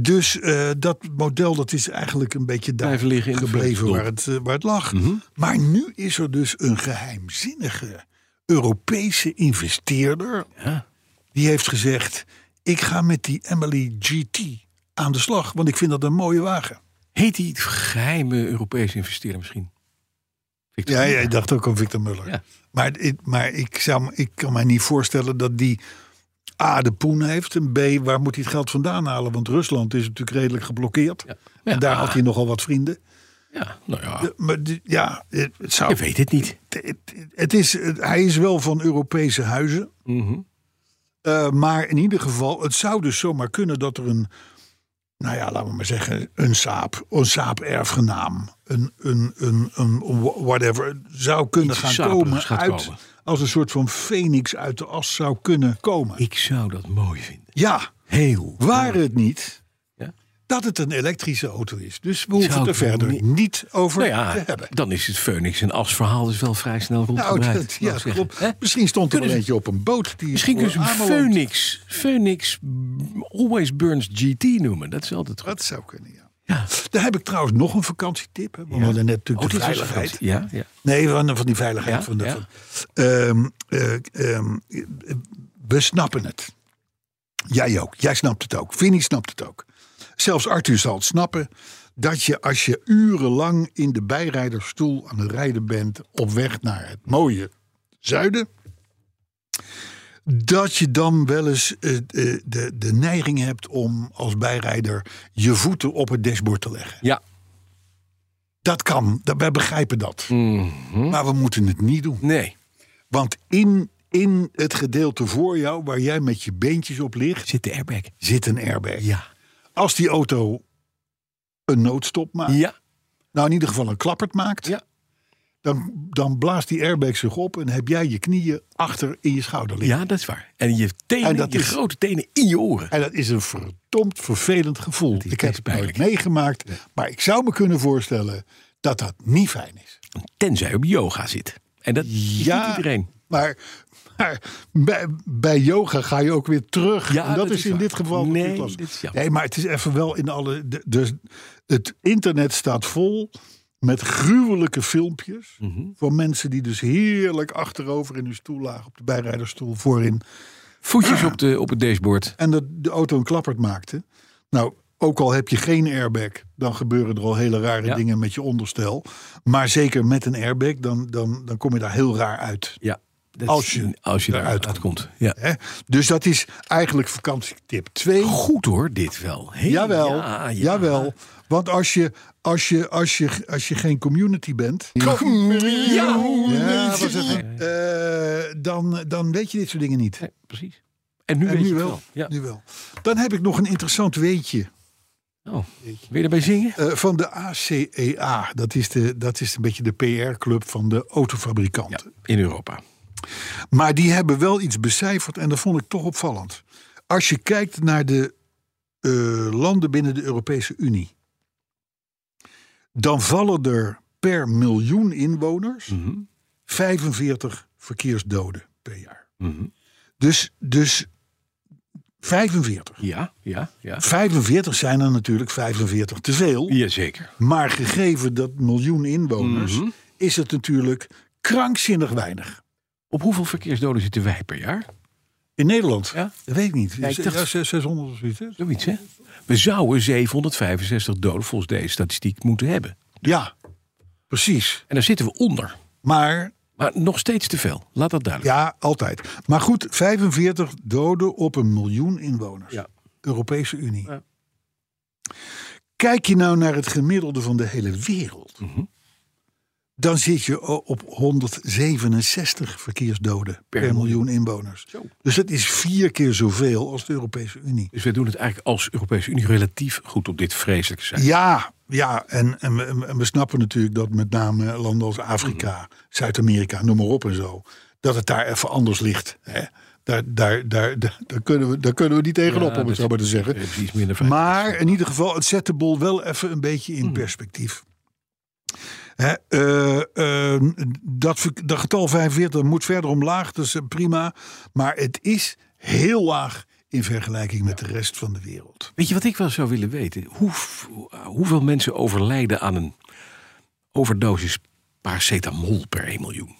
[SPEAKER 2] Dus eh, dat model dat is eigenlijk een beetje daar
[SPEAKER 3] Blijven liggen in de Mhm.
[SPEAKER 2] gebleven
[SPEAKER 3] vuilnisdop.
[SPEAKER 2] waar het, eh, waar het lag. Maar nu is er dus een geheimzinnige Europese investeerder.
[SPEAKER 3] Ja.
[SPEAKER 2] Die heeft gezegd, ik ga met die Emily GT aan de slag. Want ik vind dat een mooie wagen.
[SPEAKER 3] Heet die geheime Europese investeerder misschien? Victor
[SPEAKER 2] Ja,
[SPEAKER 3] Muller?
[SPEAKER 2] ja, ik dacht ook aan Victor Muller.
[SPEAKER 3] Ja.
[SPEAKER 2] Maar, ik, maar ik, zou, ik kan mij niet voorstellen dat die A, de poen heeft. En B, waar moet hij het geld vandaan halen? Want Rusland is natuurlijk redelijk geblokkeerd.
[SPEAKER 3] Ja.
[SPEAKER 2] En daar
[SPEAKER 3] Ja.
[SPEAKER 2] had hij nogal wat vrienden.
[SPEAKER 3] Ja, nou ja.
[SPEAKER 2] De- maar de- ja, het het zou.
[SPEAKER 3] Ik weet het niet.
[SPEAKER 2] het- het- het is, het- hij is wel van Europese huizen.
[SPEAKER 3] Mhm.
[SPEAKER 2] Eh, maar in ieder geval, het zou dus zomaar kunnen dat er een. Nou ja, laten we maar zeggen, een saap, een saap-erfgenaam, een, een, een, een whatever, zou kunnen
[SPEAKER 3] Iets
[SPEAKER 2] gaan
[SPEAKER 3] saperigs
[SPEAKER 2] komen,
[SPEAKER 3] gaat
[SPEAKER 2] uit,
[SPEAKER 3] komen.
[SPEAKER 2] Als een soort van phoenix uit de as zou kunnen komen.
[SPEAKER 3] Ik zou dat mooi vinden.
[SPEAKER 2] Ja,
[SPEAKER 3] Heel.
[SPEAKER 2] waar het niet
[SPEAKER 3] Ja?
[SPEAKER 2] dat het een elektrische auto is. Dus we hoeven
[SPEAKER 3] Zou
[SPEAKER 2] het er
[SPEAKER 3] ik
[SPEAKER 2] verder
[SPEAKER 3] niet-
[SPEAKER 2] niet over
[SPEAKER 3] Nou
[SPEAKER 2] te
[SPEAKER 3] ja,
[SPEAKER 2] hebben.
[SPEAKER 3] dan is het Phoenix en As verhaal dus wel vrij snel
[SPEAKER 2] Nou,
[SPEAKER 3] rondgebreid.
[SPEAKER 2] dat, ja,
[SPEAKER 3] laat ik zeggen.
[SPEAKER 2] klopt.
[SPEAKER 3] Hè?
[SPEAKER 2] Misschien stond er
[SPEAKER 3] Kunnen
[SPEAKER 2] een
[SPEAKER 3] ze-
[SPEAKER 2] eentje op een boot. Die
[SPEAKER 3] Misschien kunnen ze
[SPEAKER 2] voor
[SPEAKER 3] hem
[SPEAKER 2] Ameland-
[SPEAKER 3] Phoenix, Phoenix mm, Always Burns GT noemen. Dat is altijd goed.
[SPEAKER 2] Dat zou kunnen, ja.
[SPEAKER 3] Ja. Oh,
[SPEAKER 2] Daar heb ik trouwens nog een vakantietip. Hè? Want we hadden net natuurlijk de
[SPEAKER 3] dit was
[SPEAKER 2] veiligheid.
[SPEAKER 3] vakantie. Ja, ja.
[SPEAKER 2] Nee, van, van die veiligheid.
[SPEAKER 3] Ja,
[SPEAKER 2] van de,
[SPEAKER 3] ja.
[SPEAKER 2] van- Ehm, eh, ehm, we snappen het. Jij ook. Jij snapt het ook. Vinnie snapt het ook. Zelfs Arthur zal het snappen. Dat je als je urenlang in de bijrijdersstoel aan het rijden bent. op weg naar het mooie zuiden. dat je dan wel eens eh, eh, de, de neiging hebt om als bijrijder je voeten op het dashboard te leggen.
[SPEAKER 3] Ja,
[SPEAKER 2] Dat kan, dat, wij begrijpen dat. Maar we moeten het niet doen.
[SPEAKER 3] nee.
[SPEAKER 2] Want in, in het gedeelte voor jou, waar jij met je beentjes op ligt,
[SPEAKER 3] Zit de airbag.
[SPEAKER 2] zit een airbag.
[SPEAKER 3] Ja.
[SPEAKER 2] Als die auto een noodstop maakt,
[SPEAKER 3] Ja,
[SPEAKER 2] nou in ieder geval een klappert maakt,
[SPEAKER 3] Ja.
[SPEAKER 2] dan, dan blaast die airbag zich op en heb jij je knieën achter in je schouder liggen.
[SPEAKER 3] ja, dat is waar. En je tenen,
[SPEAKER 2] En dat
[SPEAKER 3] je
[SPEAKER 2] is-
[SPEAKER 3] grote tenen in je oren.
[SPEAKER 2] En dat is een verdomd vervelend gevoel.
[SPEAKER 3] is
[SPEAKER 2] Ik heb
[SPEAKER 3] best
[SPEAKER 2] het nooit
[SPEAKER 3] pijnlijk.
[SPEAKER 2] meegemaakt, maar ik zou me kunnen voorstellen dat dat niet fijn is.
[SPEAKER 3] Tenzij je op yoga zit. En dat is
[SPEAKER 2] Ja.
[SPEAKER 3] niet iedereen.
[SPEAKER 2] Maar, maar bij, bij yoga ga je ook weer terug.
[SPEAKER 3] Ja,
[SPEAKER 2] en dat,
[SPEAKER 3] dat
[SPEAKER 2] is
[SPEAKER 3] is
[SPEAKER 2] in
[SPEAKER 3] waar.
[SPEAKER 2] dit geval
[SPEAKER 3] Nee,
[SPEAKER 2] natuurlijk lastig.
[SPEAKER 3] dit is jammer.
[SPEAKER 2] nee, maar het is even wel in alle. de- Dus het internet staat vol met gruwelijke filmpjes.
[SPEAKER 3] Mhm.
[SPEAKER 2] Van mensen die dus heerlijk achterover in hun stoel lagen. Op de bijrijderstoel voorin.
[SPEAKER 3] Voetjes op, de, op het dashboard.
[SPEAKER 2] En dat de auto een klappert maakte. Nou, ook al heb je geen airbag, dan gebeuren er al hele rare
[SPEAKER 3] Ja.
[SPEAKER 2] dingen met je onderstel. Maar zeker met een airbag, dan, dan, dan kom je daar heel raar uit.
[SPEAKER 3] Ja. Dat
[SPEAKER 2] Als
[SPEAKER 3] is-
[SPEAKER 2] je
[SPEAKER 3] als je
[SPEAKER 2] eruit
[SPEAKER 3] daaruit komt. Ja.
[SPEAKER 2] Hè? Dus dat is eigenlijk vakantietip 2.
[SPEAKER 3] Goed hoor, dit wel. Heel-
[SPEAKER 2] Jawel,
[SPEAKER 3] ja, ja.
[SPEAKER 2] jawel. Want als je, als, je, als, je, als je geen community bent. Ja, wat zeg ik? Eh, dan, dan weet je dit soort dingen niet.
[SPEAKER 3] Nee, precies. En nu
[SPEAKER 2] en
[SPEAKER 3] weet
[SPEAKER 2] nu
[SPEAKER 3] je het
[SPEAKER 2] wel,
[SPEAKER 3] wel. Ja.
[SPEAKER 2] nu wel. Dan heb ik nog een interessant weetje.
[SPEAKER 3] Oh. Wil je erbij zingen?
[SPEAKER 2] eh, van de ACEA. Dat is, de, dat is een beetje de PR-club van de autofabrikanten.
[SPEAKER 3] In Europa.
[SPEAKER 2] Maar die hebben wel iets becijferd en dat vond ik toch opvallend. Als je kijkt naar de eh, landen binnen de Europese Unie, dan vallen er per miljoen inwoners 45 verkeersdoden per jaar. Dus, dus 45.
[SPEAKER 3] Ja, ja, ja.
[SPEAKER 2] 45 zijn er natuurlijk 45 te veel.
[SPEAKER 3] Jazeker.
[SPEAKER 2] Maar gegeven dat miljoen inwoners, is het natuurlijk krankzinnig weinig.
[SPEAKER 3] Op hoeveel verkeersdoden zitten wij per jaar?
[SPEAKER 2] In Nederland?
[SPEAKER 3] Ja?
[SPEAKER 2] Dat weet ik niet.
[SPEAKER 3] ik dacht-
[SPEAKER 2] Ja, 600 of zoiets. hè?
[SPEAKER 3] Zoiets, hè? We zouden 765 doden volgens deze statistiek moeten hebben.
[SPEAKER 2] Ja, precies.
[SPEAKER 3] En daar zitten we onder.
[SPEAKER 2] Maar
[SPEAKER 3] Maar nog steeds te veel. Laat dat duidelijk
[SPEAKER 2] ja, altijd. Maar goed, 45 doden op een miljoen inwoners.
[SPEAKER 3] Ja.
[SPEAKER 2] Europese Unie.
[SPEAKER 3] Ja.
[SPEAKER 2] Kijk je nou naar het gemiddelde van de hele wereld,
[SPEAKER 3] Mhm.
[SPEAKER 2] dan zit je o- op 167 verkeersdoden per, miljoen inwoners. Dus dat is vier keer zoveel als de Europese Unie.
[SPEAKER 3] Dus wij doen het eigenlijk als Europese Unie relatief goed op dit vreselijke zijn.
[SPEAKER 2] Ja, ja en, en, we, en we snappen natuurlijk dat met name landen als Afrika,
[SPEAKER 3] Mhm.
[SPEAKER 2] Zuid-Amerika, noem maar op en zo, dat het daar even anders ligt. Hè? Daar, daar, daar, daar, daar kunnen we, daar kunnen we niet tegenop, om het
[SPEAKER 3] dat
[SPEAKER 2] zo maar te
[SPEAKER 3] is-
[SPEAKER 2] zeggen.
[SPEAKER 3] dat is Mhm. iets minder vrij.
[SPEAKER 2] maar in ieder geval, het zet de bol wel even een beetje in perspectief. Hè, eh, eh, dat, ver- dat getal 45 moet verder omlaag, dus eh, prima. Maar het is heel laag in vergelijking met de rest van de wereld.
[SPEAKER 3] Weet je wat ik wel zou willen weten? Hoe, hoeveel mensen overlijden aan een overdosis paracetamol per 1 miljoen?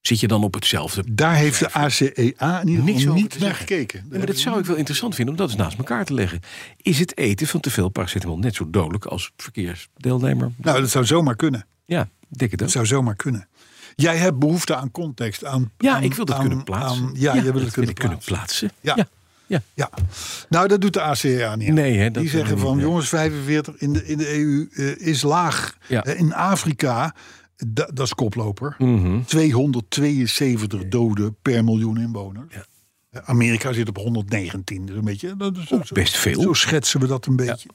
[SPEAKER 3] Zit je dan op hetzelfde? Nee,
[SPEAKER 2] Daar heeft de ACEA in ieder
[SPEAKER 3] Niks
[SPEAKER 2] geval
[SPEAKER 3] over
[SPEAKER 2] niet
[SPEAKER 3] te
[SPEAKER 2] naar
[SPEAKER 3] zeggen.
[SPEAKER 2] gekeken.
[SPEAKER 3] maar dat zou ik wel interessant vinden om dat eens naast elkaar te leggen. Is het eten van te veel paracetamol net zo dodelijk als verkeersdeelnemer?
[SPEAKER 2] Nou, dat zou zomaar kunnen.
[SPEAKER 3] Ja, ik denk het ook.
[SPEAKER 2] Dat zou zomaar kunnen. Jij hebt behoefte aan context. Aan,
[SPEAKER 3] Ja,
[SPEAKER 2] aan-
[SPEAKER 3] ik wil dat
[SPEAKER 2] aan-
[SPEAKER 3] kunnen plaatsen.
[SPEAKER 2] aan- ja, je wil
[SPEAKER 3] dat
[SPEAKER 2] het
[SPEAKER 3] wil
[SPEAKER 2] kunnen
[SPEAKER 3] ik
[SPEAKER 2] plaatsen.
[SPEAKER 3] plaatsen.
[SPEAKER 2] Ja.
[SPEAKER 3] ja. ja.
[SPEAKER 2] Ja. Nou, dat doet de ACEA niet. aan.
[SPEAKER 3] Nee, hè, dat
[SPEAKER 2] Die zeggen
[SPEAKER 3] doen we
[SPEAKER 2] van,
[SPEAKER 3] niet, hè.
[SPEAKER 2] jongens, 45 in de, in de EU eh, is laag.
[SPEAKER 3] Ja.
[SPEAKER 2] Eh, in Afrika, da- dat is koploper.
[SPEAKER 3] Mhm.
[SPEAKER 2] 272 doden per miljoen inwoners. Eh, Amerika zit op 119, dus een beetje. Dat is ook zo-
[SPEAKER 3] best veel.
[SPEAKER 2] Zo schetsen we dat een beetje.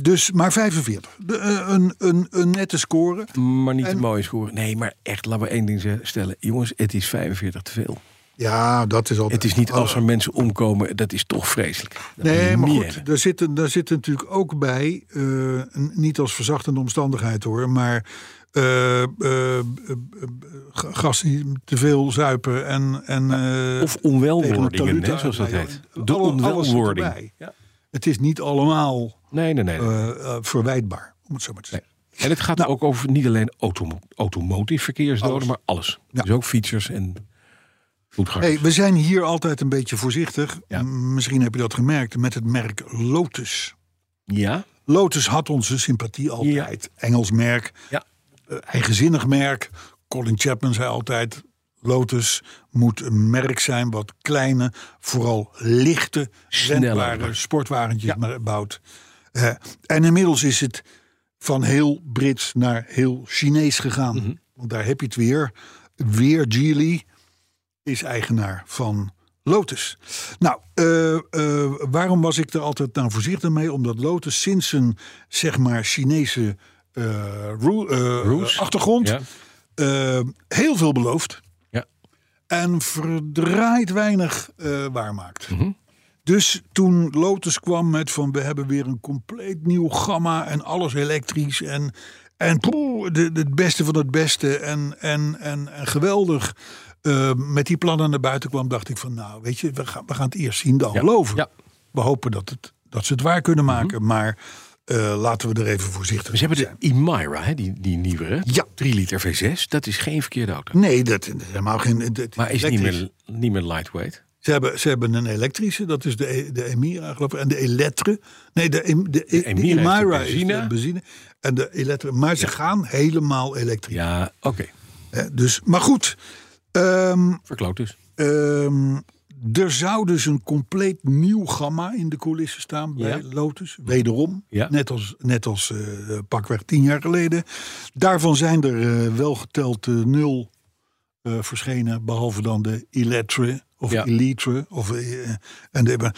[SPEAKER 2] Dus, maar 45. De, eh, een, een, een nette score.
[SPEAKER 3] Maar niet een mooie score. Nee, maar echt, laten we één ding ze- stellen. Jongens, het is 45 te veel.
[SPEAKER 2] Ja, dat is altijd...
[SPEAKER 3] Het is niet
[SPEAKER 2] Oh,
[SPEAKER 3] als er mensen omkomen, dat is toch vreselijk. Dat
[SPEAKER 2] Nee,
[SPEAKER 3] moet
[SPEAKER 2] maar
[SPEAKER 3] niet
[SPEAKER 2] goed,
[SPEAKER 3] hebben.
[SPEAKER 2] daar zit, daar zit natuurlijk ook bij, eh, n- niet als verzachtende omstandigheid hoor, maar eh, eh, eh, eh, ga- gasten die te veel zuipen en... en eh,
[SPEAKER 3] Of
[SPEAKER 2] tegen een
[SPEAKER 3] onwelwordingen,
[SPEAKER 2] talud
[SPEAKER 3] hè, zoals dat
[SPEAKER 2] aanrijden.
[SPEAKER 3] heet.
[SPEAKER 2] Alle-
[SPEAKER 3] De
[SPEAKER 2] alles zit
[SPEAKER 3] onwelwording.
[SPEAKER 2] erbij. Het is niet allemaal
[SPEAKER 3] Nee, nee, nee.
[SPEAKER 2] eh, eh, verwijtbaar, om het zo maar te zeggen.
[SPEAKER 3] En het gaat
[SPEAKER 2] nou.
[SPEAKER 3] ook over niet alleen automo automotive verkeersdoden, maar alles.
[SPEAKER 2] Ja.
[SPEAKER 3] Dus ook fietsers en voetgangers.
[SPEAKER 2] Hey, we zijn hier altijd een beetje voorzichtig,
[SPEAKER 3] Ja.
[SPEAKER 2] M- misschien heb je dat gemerkt, met het merk Lotus.
[SPEAKER 3] ja?
[SPEAKER 2] Lotus had onze sympathie altijd. Engels merk,
[SPEAKER 3] Ja.
[SPEAKER 2] eh, eigenzinnig merk. Colin Chapman zei altijd: Lotus moet een merk zijn wat kleine, vooral lichte,
[SPEAKER 3] Sneller.
[SPEAKER 2] zendbare sportwagentjes maar bouwt. Eh, en inmiddels is het van heel Brits naar heel Chinees gegaan.
[SPEAKER 3] Mhm.
[SPEAKER 2] Want daar heb je het weer. Weer Geely is eigenaar van Lotus. Nou, eh, eh, waarom was ik er altijd nou voorzichtig mee? Omdat Lotus sinds een, zeg maar, Chinese eh, roe- eh,
[SPEAKER 3] Roes.
[SPEAKER 2] achtergrond
[SPEAKER 3] Ja.
[SPEAKER 2] eh, heel veel belooft
[SPEAKER 3] Ja.
[SPEAKER 2] en verdraaid weinig eh, waarmaakt.
[SPEAKER 3] Mhm.
[SPEAKER 2] Dus toen Lotus kwam met van we hebben weer een compleet nieuw gamma en alles elektrisch en, en poeh, de, de- het beste van het beste en, en, en, en geweldig. eh, met die plannen naar buiten kwam, dacht ik van nou weet je, we gaan, we gaan het eerst zien dan
[SPEAKER 3] Ja.
[SPEAKER 2] geloven.
[SPEAKER 3] Ja. Mhm.
[SPEAKER 2] We hopen dat, het, dat ze het waar kunnen maken, maar eh, laten we er even voorzichtig
[SPEAKER 3] Ze hebben de Imira, hè, die, die nieuwe, hè?
[SPEAKER 2] Ja.
[SPEAKER 3] 3 liter V6, dat is geen verkeerde auto.
[SPEAKER 2] Nee, dat dat is helemaal geen. dat
[SPEAKER 3] Maar is niet
[SPEAKER 2] elektrisch.
[SPEAKER 3] meer, niet meer lightweight.
[SPEAKER 2] Ze hebben, ze hebben een elektrische, dat is de, E- de Emira, geloof ik. En de Elettre. Nee, de, Em- de, E, de
[SPEAKER 3] Emira is de
[SPEAKER 2] Emira is
[SPEAKER 3] benzine.
[SPEAKER 2] de benzine. En de Elettre. Maar ze gaan helemaal elektrisch.
[SPEAKER 3] Ja, oké.
[SPEAKER 2] Hè, Dus, maar goed, ehm,
[SPEAKER 3] Verkloot dus.
[SPEAKER 2] ehm, er zou dus een compleet nieuw gamma in de coulissen staan bij
[SPEAKER 3] Ja.
[SPEAKER 2] Lotus. Wederom,
[SPEAKER 3] Ja.
[SPEAKER 2] net als, net als eh, pakweg tien jaar geleden. Daarvan zijn er eh, wel geteld eh, nul eh, verschenen, behalve dan de Electre of
[SPEAKER 3] Ja.
[SPEAKER 2] Elitre. Of, eh, en de, eh,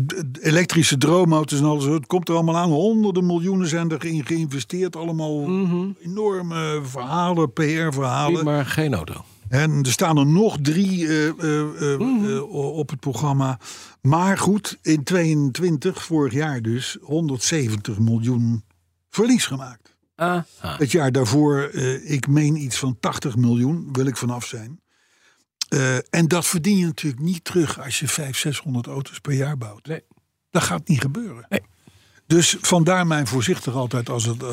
[SPEAKER 2] de elektrische droomauto's en alles. Het komt er allemaal aan. Honderden miljoenen zijn erin geïnvesteerd. Allemaal
[SPEAKER 3] Mhm.
[SPEAKER 2] enorme verhalen, PR-verhalen.
[SPEAKER 3] Maar geen auto.
[SPEAKER 2] En er staan er nog drie eh, eh, eh,
[SPEAKER 3] Mhm.
[SPEAKER 2] eh, op het programma. Maar goed, in 22, vorig jaar dus, 170 miljoen verlies gemaakt.
[SPEAKER 3] Ah,
[SPEAKER 2] Het jaar daarvoor, eh, ik meen iets van 80 miljoen, wil ik vanaf zijn. Eh, en dat verdien je natuurlijk niet terug als je 500, 600 auto's per jaar bouwt.
[SPEAKER 3] Nee.
[SPEAKER 2] Dat gaat niet gebeuren.
[SPEAKER 3] Nee.
[SPEAKER 2] Dus vandaar mijn voorzichtig altijd als het, eh,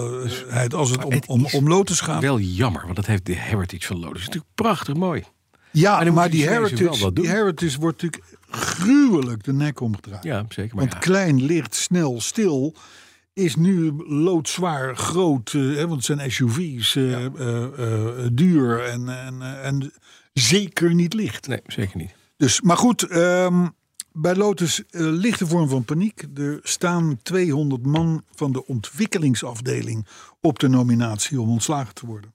[SPEAKER 2] als het, om,
[SPEAKER 3] Dus- het
[SPEAKER 2] om,
[SPEAKER 3] is
[SPEAKER 2] om lotus gaat.
[SPEAKER 3] Wel jammer, want dat heeft de heritage van Lotus. Dat is natuurlijk prachtig mooi.
[SPEAKER 2] Ja,
[SPEAKER 3] Maar
[SPEAKER 2] maar,
[SPEAKER 3] dan moeten
[SPEAKER 2] die,
[SPEAKER 3] de Chinezen
[SPEAKER 2] heritage,
[SPEAKER 3] wel wat doen.
[SPEAKER 2] die heritage wordt natuurlijk gruwelijk de nek omgedraaid.
[SPEAKER 3] Ja, zeker. Maar
[SPEAKER 2] Want
[SPEAKER 3] ja.
[SPEAKER 2] klein, licht, snel, stil is nu loodzwaar, groot. eh, hè, want het zijn SUV's, eh, eh, eh, duur en, en, eh, en zeker niet licht.
[SPEAKER 3] Nee, zeker niet.
[SPEAKER 2] Dus, maar goed, ehm, bij Lotus eh, lichte vorm van paniek. Er staan 200 man van de ontwikkelingsafdeling op de nominatie om ontslagen te worden.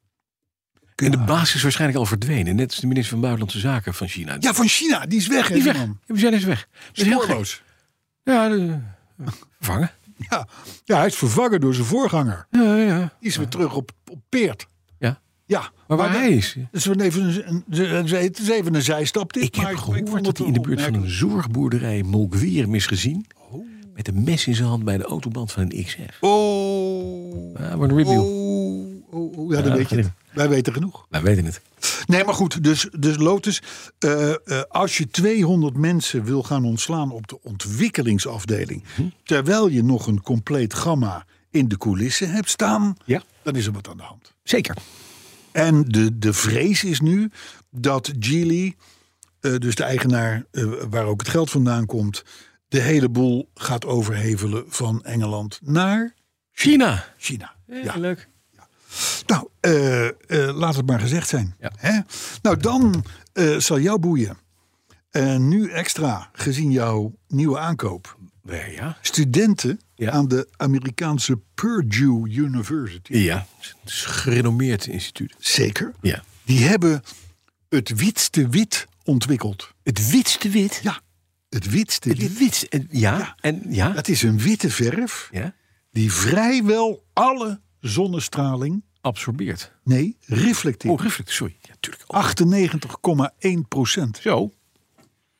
[SPEAKER 3] En de baas is waarschijnlijk al verdwenen. Net als de minister van Buitenlandse Zaken van China.
[SPEAKER 2] Ja, van China, die is weg. hè,
[SPEAKER 3] die is weg.
[SPEAKER 2] die
[SPEAKER 3] Ja,
[SPEAKER 2] man.
[SPEAKER 3] We zijn eens weg. Dat is heel gek.
[SPEAKER 2] Spoorloos.
[SPEAKER 3] Ja, de- vervangen.
[SPEAKER 2] Ja. ja, hij is vervangen door zijn voorganger.
[SPEAKER 3] Ja, ja.
[SPEAKER 2] Die is weer terug op, op Peert.
[SPEAKER 3] ja.
[SPEAKER 2] Ja,
[SPEAKER 3] Maar waar
[SPEAKER 2] dat-
[SPEAKER 3] hij is.
[SPEAKER 2] Het is wel even een, een, het is even een zijstap. Dit,
[SPEAKER 3] Ik
[SPEAKER 2] maar
[SPEAKER 3] heb
[SPEAKER 2] vond
[SPEAKER 3] gehoord
[SPEAKER 2] het
[SPEAKER 3] dat hij in de buurt van een zorgboerderij Molkwier hem is gezien. Met een mes in zijn hand bij de autoband van een XF.
[SPEAKER 2] Oh,
[SPEAKER 3] Ah, wordt een review.
[SPEAKER 2] oh, oh, oh. Ja, dan
[SPEAKER 3] Ja,
[SPEAKER 2] weet je het. Wij weten genoeg.
[SPEAKER 3] Wij weten Nou, het.
[SPEAKER 2] Nee, maar goed, dus, dus Lotus, eh, eh, als je 200 mensen wil gaan ontslaan op de ontwikkelingsafdeling,
[SPEAKER 3] Mhm.
[SPEAKER 2] terwijl je nog een compleet gamma in de coulissen hebt staan,
[SPEAKER 3] Ja.
[SPEAKER 2] dan is er wat aan de hand.
[SPEAKER 3] Zeker.
[SPEAKER 2] En de, de vrees is nu dat Geely, eh, dus de eigenaar eh, waar ook het geld vandaan komt, de hele boel gaat overhevelen van Engeland naar
[SPEAKER 3] China.
[SPEAKER 2] China.
[SPEAKER 3] Ja. Leuk.
[SPEAKER 2] Nou, eh, eh, laat het maar gezegd zijn.
[SPEAKER 3] Ja.
[SPEAKER 2] Hè? Nou, dan eh, zal jou boeien. En nu extra, gezien jouw nieuwe aankoop.
[SPEAKER 3] Ja.
[SPEAKER 2] Studenten
[SPEAKER 3] Ja.
[SPEAKER 2] aan de Amerikaanse Purdue University.
[SPEAKER 3] Ja. Het is een gerenommeerd instituut.
[SPEAKER 2] Zeker.
[SPEAKER 3] Ja.
[SPEAKER 2] Die hebben het witste wit ontwikkeld.
[SPEAKER 3] Het witste wit.
[SPEAKER 2] Ja, het witste wit.
[SPEAKER 3] Het witste. en- Ja.
[SPEAKER 2] Ja.
[SPEAKER 3] En ja.
[SPEAKER 2] Dat is een witte verf
[SPEAKER 3] Ja.
[SPEAKER 2] die vrijwel alle zonnestraling,
[SPEAKER 3] Absorbeert.
[SPEAKER 2] nee, reflecteert.
[SPEAKER 3] Oh, reflect. Sorry. Ja, tuurlijk. Oh,
[SPEAKER 2] 98,1
[SPEAKER 3] Zo.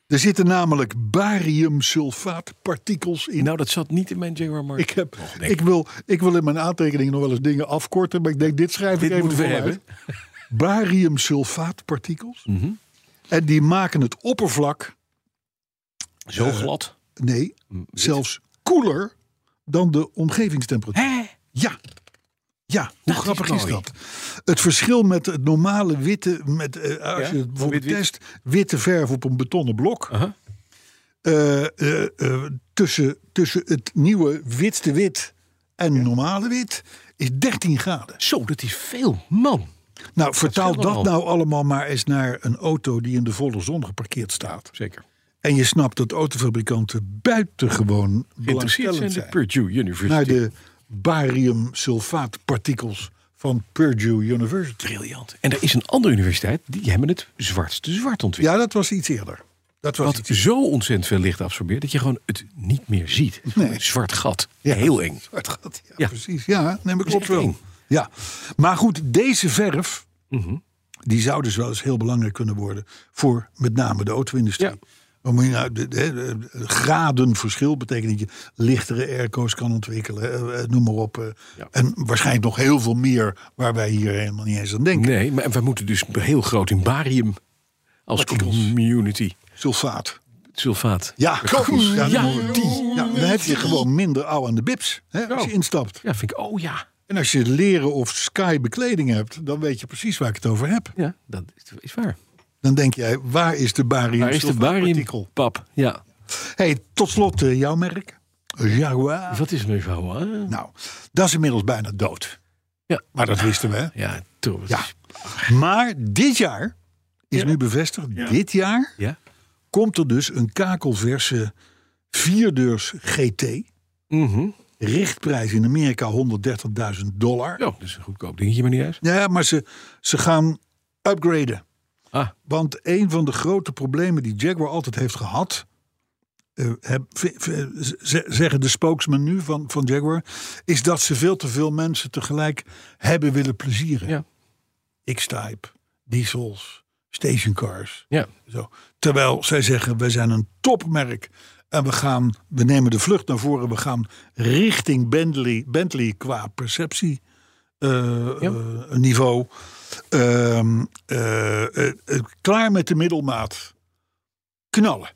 [SPEAKER 2] Er zitten namelijk bariumsulfaatpartikels in.
[SPEAKER 3] Nou, dat zat niet in mijn Jaguar Mark.
[SPEAKER 2] ik, heb,
[SPEAKER 3] Och, nee.
[SPEAKER 2] ik, wil, ik wil in mijn aantekeningen nog wel eens dingen afkorten, maar ik denk, dit schrijf
[SPEAKER 3] Dit
[SPEAKER 2] ik even
[SPEAKER 3] moeten we
[SPEAKER 2] vooruit.
[SPEAKER 3] hebben. Mhm.
[SPEAKER 2] Bariumsulfaatpartikels. En die maken het oppervlak,
[SPEAKER 3] Zo glad.
[SPEAKER 2] nee,
[SPEAKER 3] Hm,
[SPEAKER 2] zelfs koeler dan de omgevingstemperatuur.
[SPEAKER 3] Hè? Nou,
[SPEAKER 2] Ja. Ja, hoe
[SPEAKER 3] Dat is
[SPEAKER 2] grappig is,
[SPEAKER 3] mooi.
[SPEAKER 2] dat? Het verschil met het normale witte, met, eh, als
[SPEAKER 3] Ja,
[SPEAKER 2] je het bijvoorbeeld
[SPEAKER 3] wit-wit.
[SPEAKER 2] test, witte verf op een betonnen blok.
[SPEAKER 3] Aha.
[SPEAKER 2] eh, eh, eh, tussen, tussen het nieuwe witste wit en normale wit is 13 graden.
[SPEAKER 3] Zo, dat is veel. Man.
[SPEAKER 2] Nou, vertaal
[SPEAKER 3] scheelt
[SPEAKER 2] dat
[SPEAKER 3] nogal.
[SPEAKER 2] nou allemaal maar eens naar een auto die in de volle zon geparkeerd staat.
[SPEAKER 3] Zeker.
[SPEAKER 2] En je snapt dat autofabrikanten buitengewoon
[SPEAKER 3] Geïnteresseerd
[SPEAKER 2] belangstellend
[SPEAKER 3] zijn de
[SPEAKER 2] zijn.
[SPEAKER 3] Purdue University.
[SPEAKER 2] Naar Nou, de bariumsulfaatpartikels van Purdue University.
[SPEAKER 3] Briljant. En er is een andere universiteit, die hebben het zwartste zwart ontwikkeld.
[SPEAKER 2] Ja, dat was iets eerder. Dat was
[SPEAKER 3] wat
[SPEAKER 2] iets
[SPEAKER 3] zo ontzettend veel licht absorbeert dat je gewoon het niet meer ziet.
[SPEAKER 2] Nee.
[SPEAKER 3] Een zwart gat.
[SPEAKER 2] Ja.
[SPEAKER 3] Heel eng.
[SPEAKER 2] <laughs> Zwart gat, ja,
[SPEAKER 3] Ja.
[SPEAKER 2] precies. Ja, neem ik
[SPEAKER 3] is
[SPEAKER 2] klopt
[SPEAKER 3] echt
[SPEAKER 2] wel.
[SPEAKER 3] eng. Mhm.
[SPEAKER 2] Ja. Maar goed, deze verf, die zou dus wel eens heel belangrijk kunnen worden voor met name de auto-industrie.
[SPEAKER 3] Ja.
[SPEAKER 2] Om je nou, de, de- de- de graden verschil betekent dat je lichtere airco's kan ontwikkelen, eh, eh, noem maar op. eh.
[SPEAKER 3] Ja.
[SPEAKER 2] En waarschijnlijk nog heel veel meer waar wij hier helemaal niet eens aan denken.
[SPEAKER 3] Nee, maar we moeten dus heel groot in barium als community.
[SPEAKER 2] Sulfaat.
[SPEAKER 3] Sulfaat.
[SPEAKER 2] Ja, kom, ja,
[SPEAKER 3] Ja,
[SPEAKER 2] dan-
[SPEAKER 3] die.
[SPEAKER 2] ja, dan heb je gewoon minder ouw aan de bips hè, als je
[SPEAKER 3] Zo.
[SPEAKER 2] instapt.
[SPEAKER 3] Ja, vind ik, oh ja.
[SPEAKER 2] En als je leren of sky bekleding hebt, dan weet je precies waar ik het over heb.
[SPEAKER 3] Ja, dat is, is waar.
[SPEAKER 2] Dan denk jij, waar is de barium?
[SPEAKER 3] Daar is de barium,
[SPEAKER 2] sulfaatpartikel?
[SPEAKER 3] pap. Ja.
[SPEAKER 2] Hey, tot slot eh, jouw merk. Jaguar.
[SPEAKER 3] Wat is mijn vrouw? Ah.
[SPEAKER 2] Nou, dat is inmiddels bijna dood.
[SPEAKER 3] Ja.
[SPEAKER 2] Maar dat wisten we. hè?
[SPEAKER 3] Ja, toch.
[SPEAKER 2] Ja. Maar dit jaar is nu bevestigd. Dit jaar
[SPEAKER 3] Ja?
[SPEAKER 2] komt er dus een kakelverse vierdeurs GT.
[SPEAKER 3] Mhm.
[SPEAKER 2] Richtprijs in Amerika 130.000 dollar.
[SPEAKER 3] Ja, oh, dat is een goedkoop dingetje, maar niet uit.
[SPEAKER 2] Ja, maar ze, ze gaan upgraden.
[SPEAKER 3] Ah.
[SPEAKER 2] Want een van de grote problemen die Jaguar altijd heeft gehad. eh, heb- v- v- z- zeggen de spokesman nu van, van Jaguar. is dat ze veel te veel mensen tegelijk hebben willen plezieren.
[SPEAKER 3] Ja.
[SPEAKER 2] X-Type, diesels, stationcars.
[SPEAKER 3] Ja.
[SPEAKER 2] Zo. Terwijl zij zeggen, wij zijn een topmerk. En we, gaan, we nemen de vlucht naar voren. We gaan richting Bentley, Bentley qua perceptie eh,
[SPEAKER 3] Ja.
[SPEAKER 2] eh, niveau. Ehm, eh, eh, eh, klaar met de middelmaat. Knallen.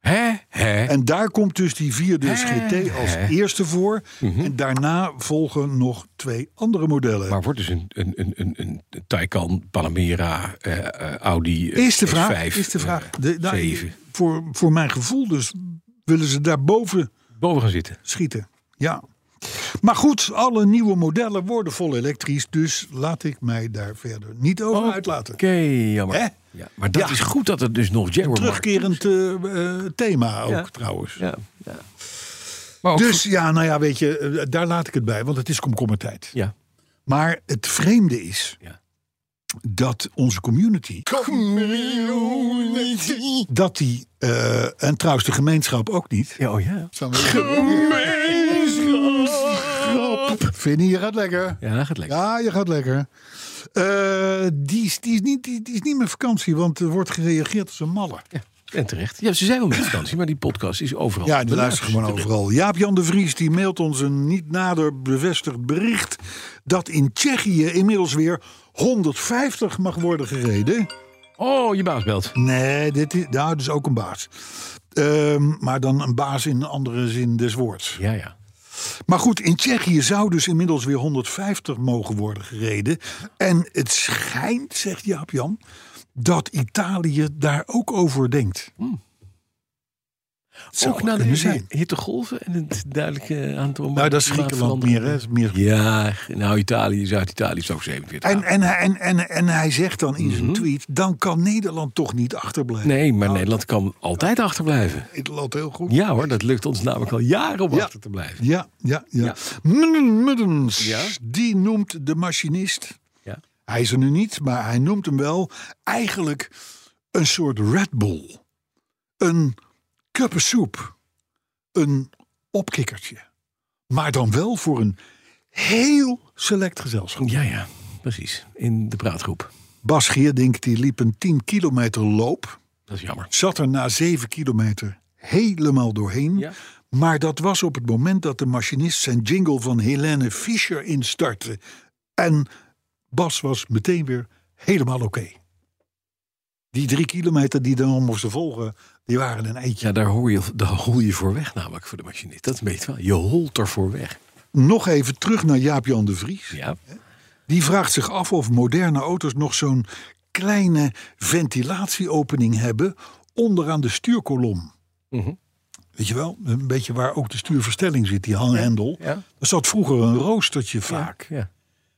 [SPEAKER 3] Hè? Hè?
[SPEAKER 2] En daar komt dus die vierde GT als
[SPEAKER 3] Hè?
[SPEAKER 2] eerste voor.
[SPEAKER 3] Mhm.
[SPEAKER 2] En daarna volgen nog twee andere modellen.
[SPEAKER 3] Maar wordt dus een, een, een, een, een Taycan, Panamera, eh, eh, Audi eh,
[SPEAKER 2] Is de vraag.
[SPEAKER 3] S5,
[SPEAKER 2] is de vraag.
[SPEAKER 3] eh,
[SPEAKER 2] De- nou,
[SPEAKER 3] zeven.
[SPEAKER 2] voor, voor mijn gevoel dus willen ze daarboven
[SPEAKER 3] boven gaan zitten.
[SPEAKER 2] schieten. Ja. Maar goed, alle nieuwe modellen worden vol elektrisch. Dus laat ik mij daar verder niet over uitlaten.
[SPEAKER 3] Oké, jammer.
[SPEAKER 2] Hè?
[SPEAKER 3] Ja, maar dat
[SPEAKER 2] Ja.
[SPEAKER 3] is goed dat het dus nog Jaguar
[SPEAKER 2] Terugkerend eh, eh, thema ook
[SPEAKER 3] Ja.
[SPEAKER 2] trouwens.
[SPEAKER 3] Ja, ja. Maar ook
[SPEAKER 2] Dus
[SPEAKER 3] goed-
[SPEAKER 2] ja, nou ja, weet je, eh, daar laat ik het bij. Want het is komkommertijd.
[SPEAKER 3] Ja.
[SPEAKER 2] Maar het vreemde is
[SPEAKER 3] Ja.
[SPEAKER 2] dat onze community. Dat die. eh, en trouwens de gemeenschap ook niet.
[SPEAKER 3] ja, oh ja.
[SPEAKER 2] Gemeenschap. Vinnie, je gaat lekker.
[SPEAKER 3] Ja, gaat lekker.
[SPEAKER 2] Ja, je gaat lekker. Eh, die, is, die, is niet, die, die is niet meer vakantie, want er wordt gereageerd als een malle.
[SPEAKER 3] Ja. En terecht. Ja, ze zijn wel met vakantie, maar die podcast is overal.
[SPEAKER 2] Ja, die
[SPEAKER 3] te
[SPEAKER 2] luisteren
[SPEAKER 3] beluisteren.
[SPEAKER 2] gewoon overal. Jaap-Jan de Vries die mailt ons een niet nader bevestigd bericht... dat in Tsjechië inmiddels weer 150 mag worden gereden.
[SPEAKER 3] Oh, je baas belt.
[SPEAKER 2] Nee, dit is, nou, dat is ook een baas. Ehm, maar dan een baas in een andere zin des woords.
[SPEAKER 3] Ja, ja.
[SPEAKER 2] Maar goed, in Tsjechië zou dus inmiddels weer 150 mogen worden gereden. En het schijnt, zegt Jaap-Jan, dat Italië daar ook over denkt. Zou
[SPEAKER 3] Hmm. ook
[SPEAKER 2] het
[SPEAKER 3] na de E.
[SPEAKER 2] kunnen zijn.
[SPEAKER 3] hittegolven en het duidelijke aantal...
[SPEAKER 2] Nou, dat is Griekenland meer, hè? Is meer...
[SPEAKER 3] Ja, nou, Italië, Zuid-Italië is ook 47
[SPEAKER 2] En, en, hij- en, en, en hij zegt dan in zijn tweet, dan kan Nederland toch niet achterblijven.
[SPEAKER 3] Mhm. Nee, maar Nederland kan altijd achterblijven.
[SPEAKER 2] Nederland heel goed.
[SPEAKER 3] Ja hoor, dat lukt ons namelijk al jaren om
[SPEAKER 2] Ja.
[SPEAKER 3] achter te blijven.
[SPEAKER 2] Ja, ja, ja.
[SPEAKER 3] Ja.
[SPEAKER 2] Mudden- Muddens,
[SPEAKER 3] Ja?
[SPEAKER 2] die noemt de machinist.
[SPEAKER 3] Ja.
[SPEAKER 2] Hij is er nu niet, maar hij noemt hem wel eigenlijk een soort Red Bull. Een kuppensoep. Een opkikkertje. Maar dan wel voor een heel select gezelschap.
[SPEAKER 3] Ja, ja, precies. In de praatgroep.
[SPEAKER 2] Bas Geerdink die liep een 10 kilometer loop.
[SPEAKER 3] Dat is jammer.
[SPEAKER 2] Zat er na 7 kilometer helemaal doorheen.
[SPEAKER 3] Ja.
[SPEAKER 2] Maar dat was op het moment dat de machinist zijn jingle van Helene Fischer instartte. En Bas was meteen weer helemaal oké. Die drie kilometer die dan moesten volgen, die waren een eitje.
[SPEAKER 3] Ja, daar hoor je, daar hol je voor weg namelijk voor de machinist. Dat weet je wel. Je holt er voor weg.
[SPEAKER 2] Nog even terug naar Jaap-Jan de Vries.
[SPEAKER 3] Ja.
[SPEAKER 2] Die vraagt zich af of moderne auto's nog zo'n kleine ventilatieopening hebben onderaan de stuurkolom.
[SPEAKER 3] Mhm.
[SPEAKER 2] Weet je wel, een beetje waar ook de stuurverstelling zit, die hanghendel.
[SPEAKER 3] Ja.
[SPEAKER 2] Er zat vroeger een roostertje vaak.
[SPEAKER 3] Ja.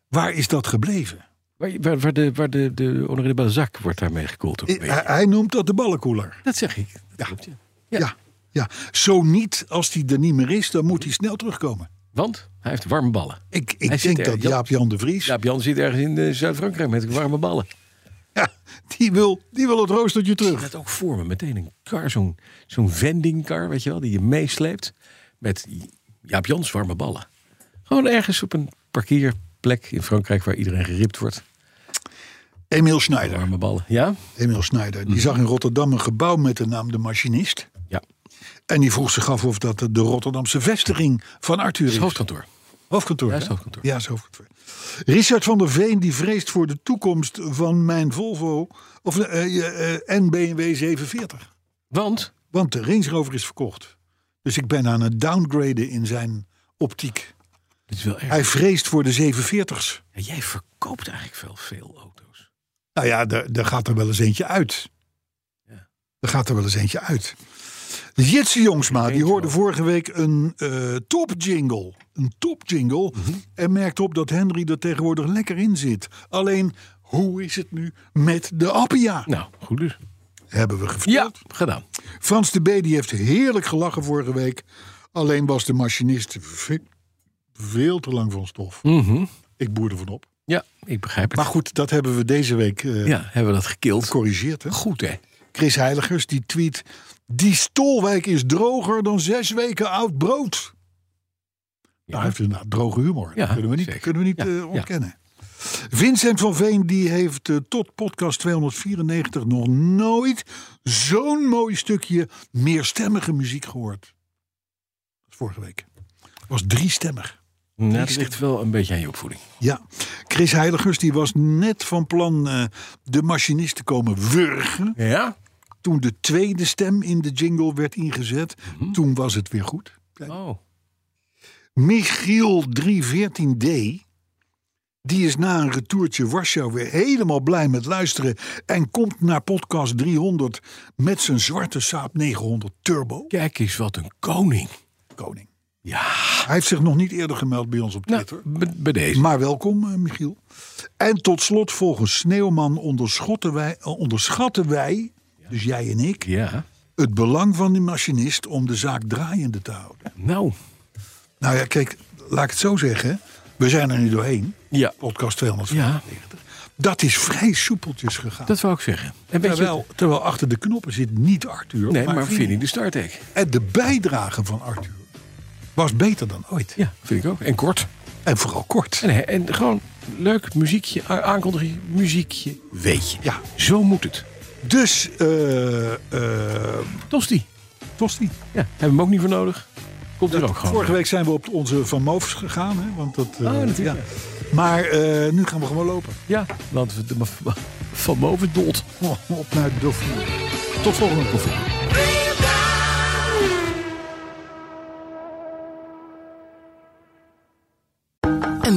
[SPEAKER 2] Waar is dat gebleven?
[SPEAKER 3] Waar, waar, waar de, waar de, de Honoré de Balzac wordt daarmee gekoeld. ook een
[SPEAKER 2] I- Hij,
[SPEAKER 3] beetje.
[SPEAKER 2] Eh, hij noemt dat de ballenkoeler.
[SPEAKER 3] Dat zeg ik. Dat klopt, ja. Ja.
[SPEAKER 2] Ja. ja. Zo niet, als die er niet meer is, dan moet hij snel terugkomen.
[SPEAKER 3] Want hij heeft warme ballen.
[SPEAKER 2] Ik, ik
[SPEAKER 3] Hij zit
[SPEAKER 2] denk
[SPEAKER 3] er,
[SPEAKER 2] dat
[SPEAKER 3] Jan.
[SPEAKER 2] Jaap-Jan de Vries,
[SPEAKER 3] Jaap Jan zit ergens in eh, Zuid-Frankrijk met warme ballen.
[SPEAKER 2] <laughs> ja, die, wil, die wil het roostertje
[SPEAKER 3] Ik
[SPEAKER 2] terug.
[SPEAKER 3] had ook voor me meteen een kar, zo'n zo'n vendingkar, weet je wel, die je meesleept. Met Jaap Jans warme ballen. Gewoon ergens op een parkeerplek in Frankrijk waar iedereen geript wordt.
[SPEAKER 2] Emiel Schneider.
[SPEAKER 3] Warme ballen. Ja?
[SPEAKER 2] Emiel Schneider,
[SPEAKER 3] Hm.
[SPEAKER 2] die zag in Rotterdam een gebouw met de naam De Machinist.
[SPEAKER 3] Ja.
[SPEAKER 2] En die vroeg zich af of dat de Rotterdamse vestiging van Arthur
[SPEAKER 3] Het
[SPEAKER 2] is.
[SPEAKER 3] is hoofdkantoor.
[SPEAKER 2] Hoofdkantoor.
[SPEAKER 3] Ja, is
[SPEAKER 2] hè?
[SPEAKER 3] hoofdkantoor.
[SPEAKER 2] Ja, is hoofdkantoor. Richard van der Veen die vreest voor de toekomst van mijn Volvo of, eh, eh, eh, en BMW 740.
[SPEAKER 3] Want
[SPEAKER 2] Want de Range Rover is verkocht. Dus ik ben aan het downgraden in zijn optiek.
[SPEAKER 3] dit is wel erg.
[SPEAKER 2] Hij vreest voor de 740's.
[SPEAKER 3] Ja, jij verkoopt eigenlijk wel veel auto's.
[SPEAKER 2] Nou ja, daar daar gaat er wel eens eentje uit. Er gaat er wel eens eentje uit. Jitse Jongsma, die hoorde vorige week een eh top jingle. Een top jingle.
[SPEAKER 3] Mhm.
[SPEAKER 2] En merkt op dat Henry er tegenwoordig lekker in zit. Alleen, hoe is het nu met de Appia?
[SPEAKER 3] Nou, goed dus.
[SPEAKER 2] Hebben we gevraagd.
[SPEAKER 3] Ja, gedaan.
[SPEAKER 2] Frans de B. die heeft heerlijk gelachen vorige week. Alleen was de machinist ve- veel te lang van stof. Ik boerde van op.
[SPEAKER 3] Mhm. Ja, ik begrijp het.
[SPEAKER 2] Maar goed, dat hebben we deze week eh,
[SPEAKER 3] ja, hebben we dat gekild.
[SPEAKER 2] gecorrigeerd. Hè?
[SPEAKER 3] Goed, hè?
[SPEAKER 2] Chris Heiligers die tweet... Die Stolwijk is droger dan zes weken oud brood. Daar heeft inderdaad droge humor.
[SPEAKER 3] Ja,
[SPEAKER 2] dat kunnen we niet,
[SPEAKER 3] zeker.
[SPEAKER 2] kunnen we niet
[SPEAKER 3] Ja,
[SPEAKER 2] eh,
[SPEAKER 3] ja.
[SPEAKER 2] ontkennen. Vincent van Veen die heeft eh, tot podcast 294 nog nooit zo'n mooi stukje meerstemmige muziek gehoord. Dat was vorige week. Het was driestemmig.
[SPEAKER 3] Nou, dat ligt wel een beetje aan je opvoeding.
[SPEAKER 2] Ja, Chris Heiligers die was net van plan eh, de machinist te komen wurgen.
[SPEAKER 3] Ja?
[SPEAKER 2] Toen de tweede stem in de jingle werd ingezet,
[SPEAKER 3] Mhm.
[SPEAKER 2] toen was het weer goed.
[SPEAKER 3] Oh.
[SPEAKER 2] Michiel 314D, die is na een retourtje Warschau weer helemaal blij met luisteren en komt naar podcast 300 met zijn zwarte Saab 900 Turbo
[SPEAKER 3] Kijk eens wat een koning.
[SPEAKER 2] koning.
[SPEAKER 3] Ja.
[SPEAKER 2] Hij heeft zich nog niet eerder gemeld bij ons op Twitter.
[SPEAKER 3] Nou, be- bij deze.
[SPEAKER 2] Maar welkom, eh, Michiel. En tot slot, volgens Sneeuwman onderschotten wij, eh, onderschatten wij, dus jij en ik,
[SPEAKER 3] Ja.
[SPEAKER 2] het belang van die machinist om de zaak draaiende te houden.
[SPEAKER 3] Nou.
[SPEAKER 2] Nou ja, kijk, laat ik het zo zeggen. We zijn er nu doorheen.
[SPEAKER 3] Ja.
[SPEAKER 2] Podcast 200.
[SPEAKER 3] Ja,
[SPEAKER 2] Dat is vrij soepeltjes gegaan.
[SPEAKER 3] dat wou ik zeggen. En weet je,
[SPEAKER 2] terwijl, terwijl achter de knoppen zit niet Arthur.
[SPEAKER 3] nee, maar
[SPEAKER 2] Vinnie.
[SPEAKER 3] Vinnie de Startek.
[SPEAKER 2] En de bijdrage van Arthur was beter dan ooit.
[SPEAKER 3] Ja, vind ik ook. En kort.
[SPEAKER 2] En vooral kort.
[SPEAKER 3] En, en gewoon leuk muziekje, a- aankondiging, muziekje, weet je.
[SPEAKER 2] Ja.
[SPEAKER 3] Zo moet het.
[SPEAKER 2] Dus, eh eh
[SPEAKER 3] Tosti.
[SPEAKER 2] Tosti.
[SPEAKER 3] Ja, hebben we hem ook niet voor nodig. Komt er ook gewoon.
[SPEAKER 2] Vorige week zijn we op onze Van Moofs gegaan. Hè, want dat, eh,
[SPEAKER 3] Oh, natuurlijk,
[SPEAKER 2] Maar eh, nu gaan we gewoon lopen.
[SPEAKER 3] Ja, want we- de, ma- van boven dood.
[SPEAKER 2] Oh, op naar de Dauphiné. Tot volgende keer.
[SPEAKER 8] Een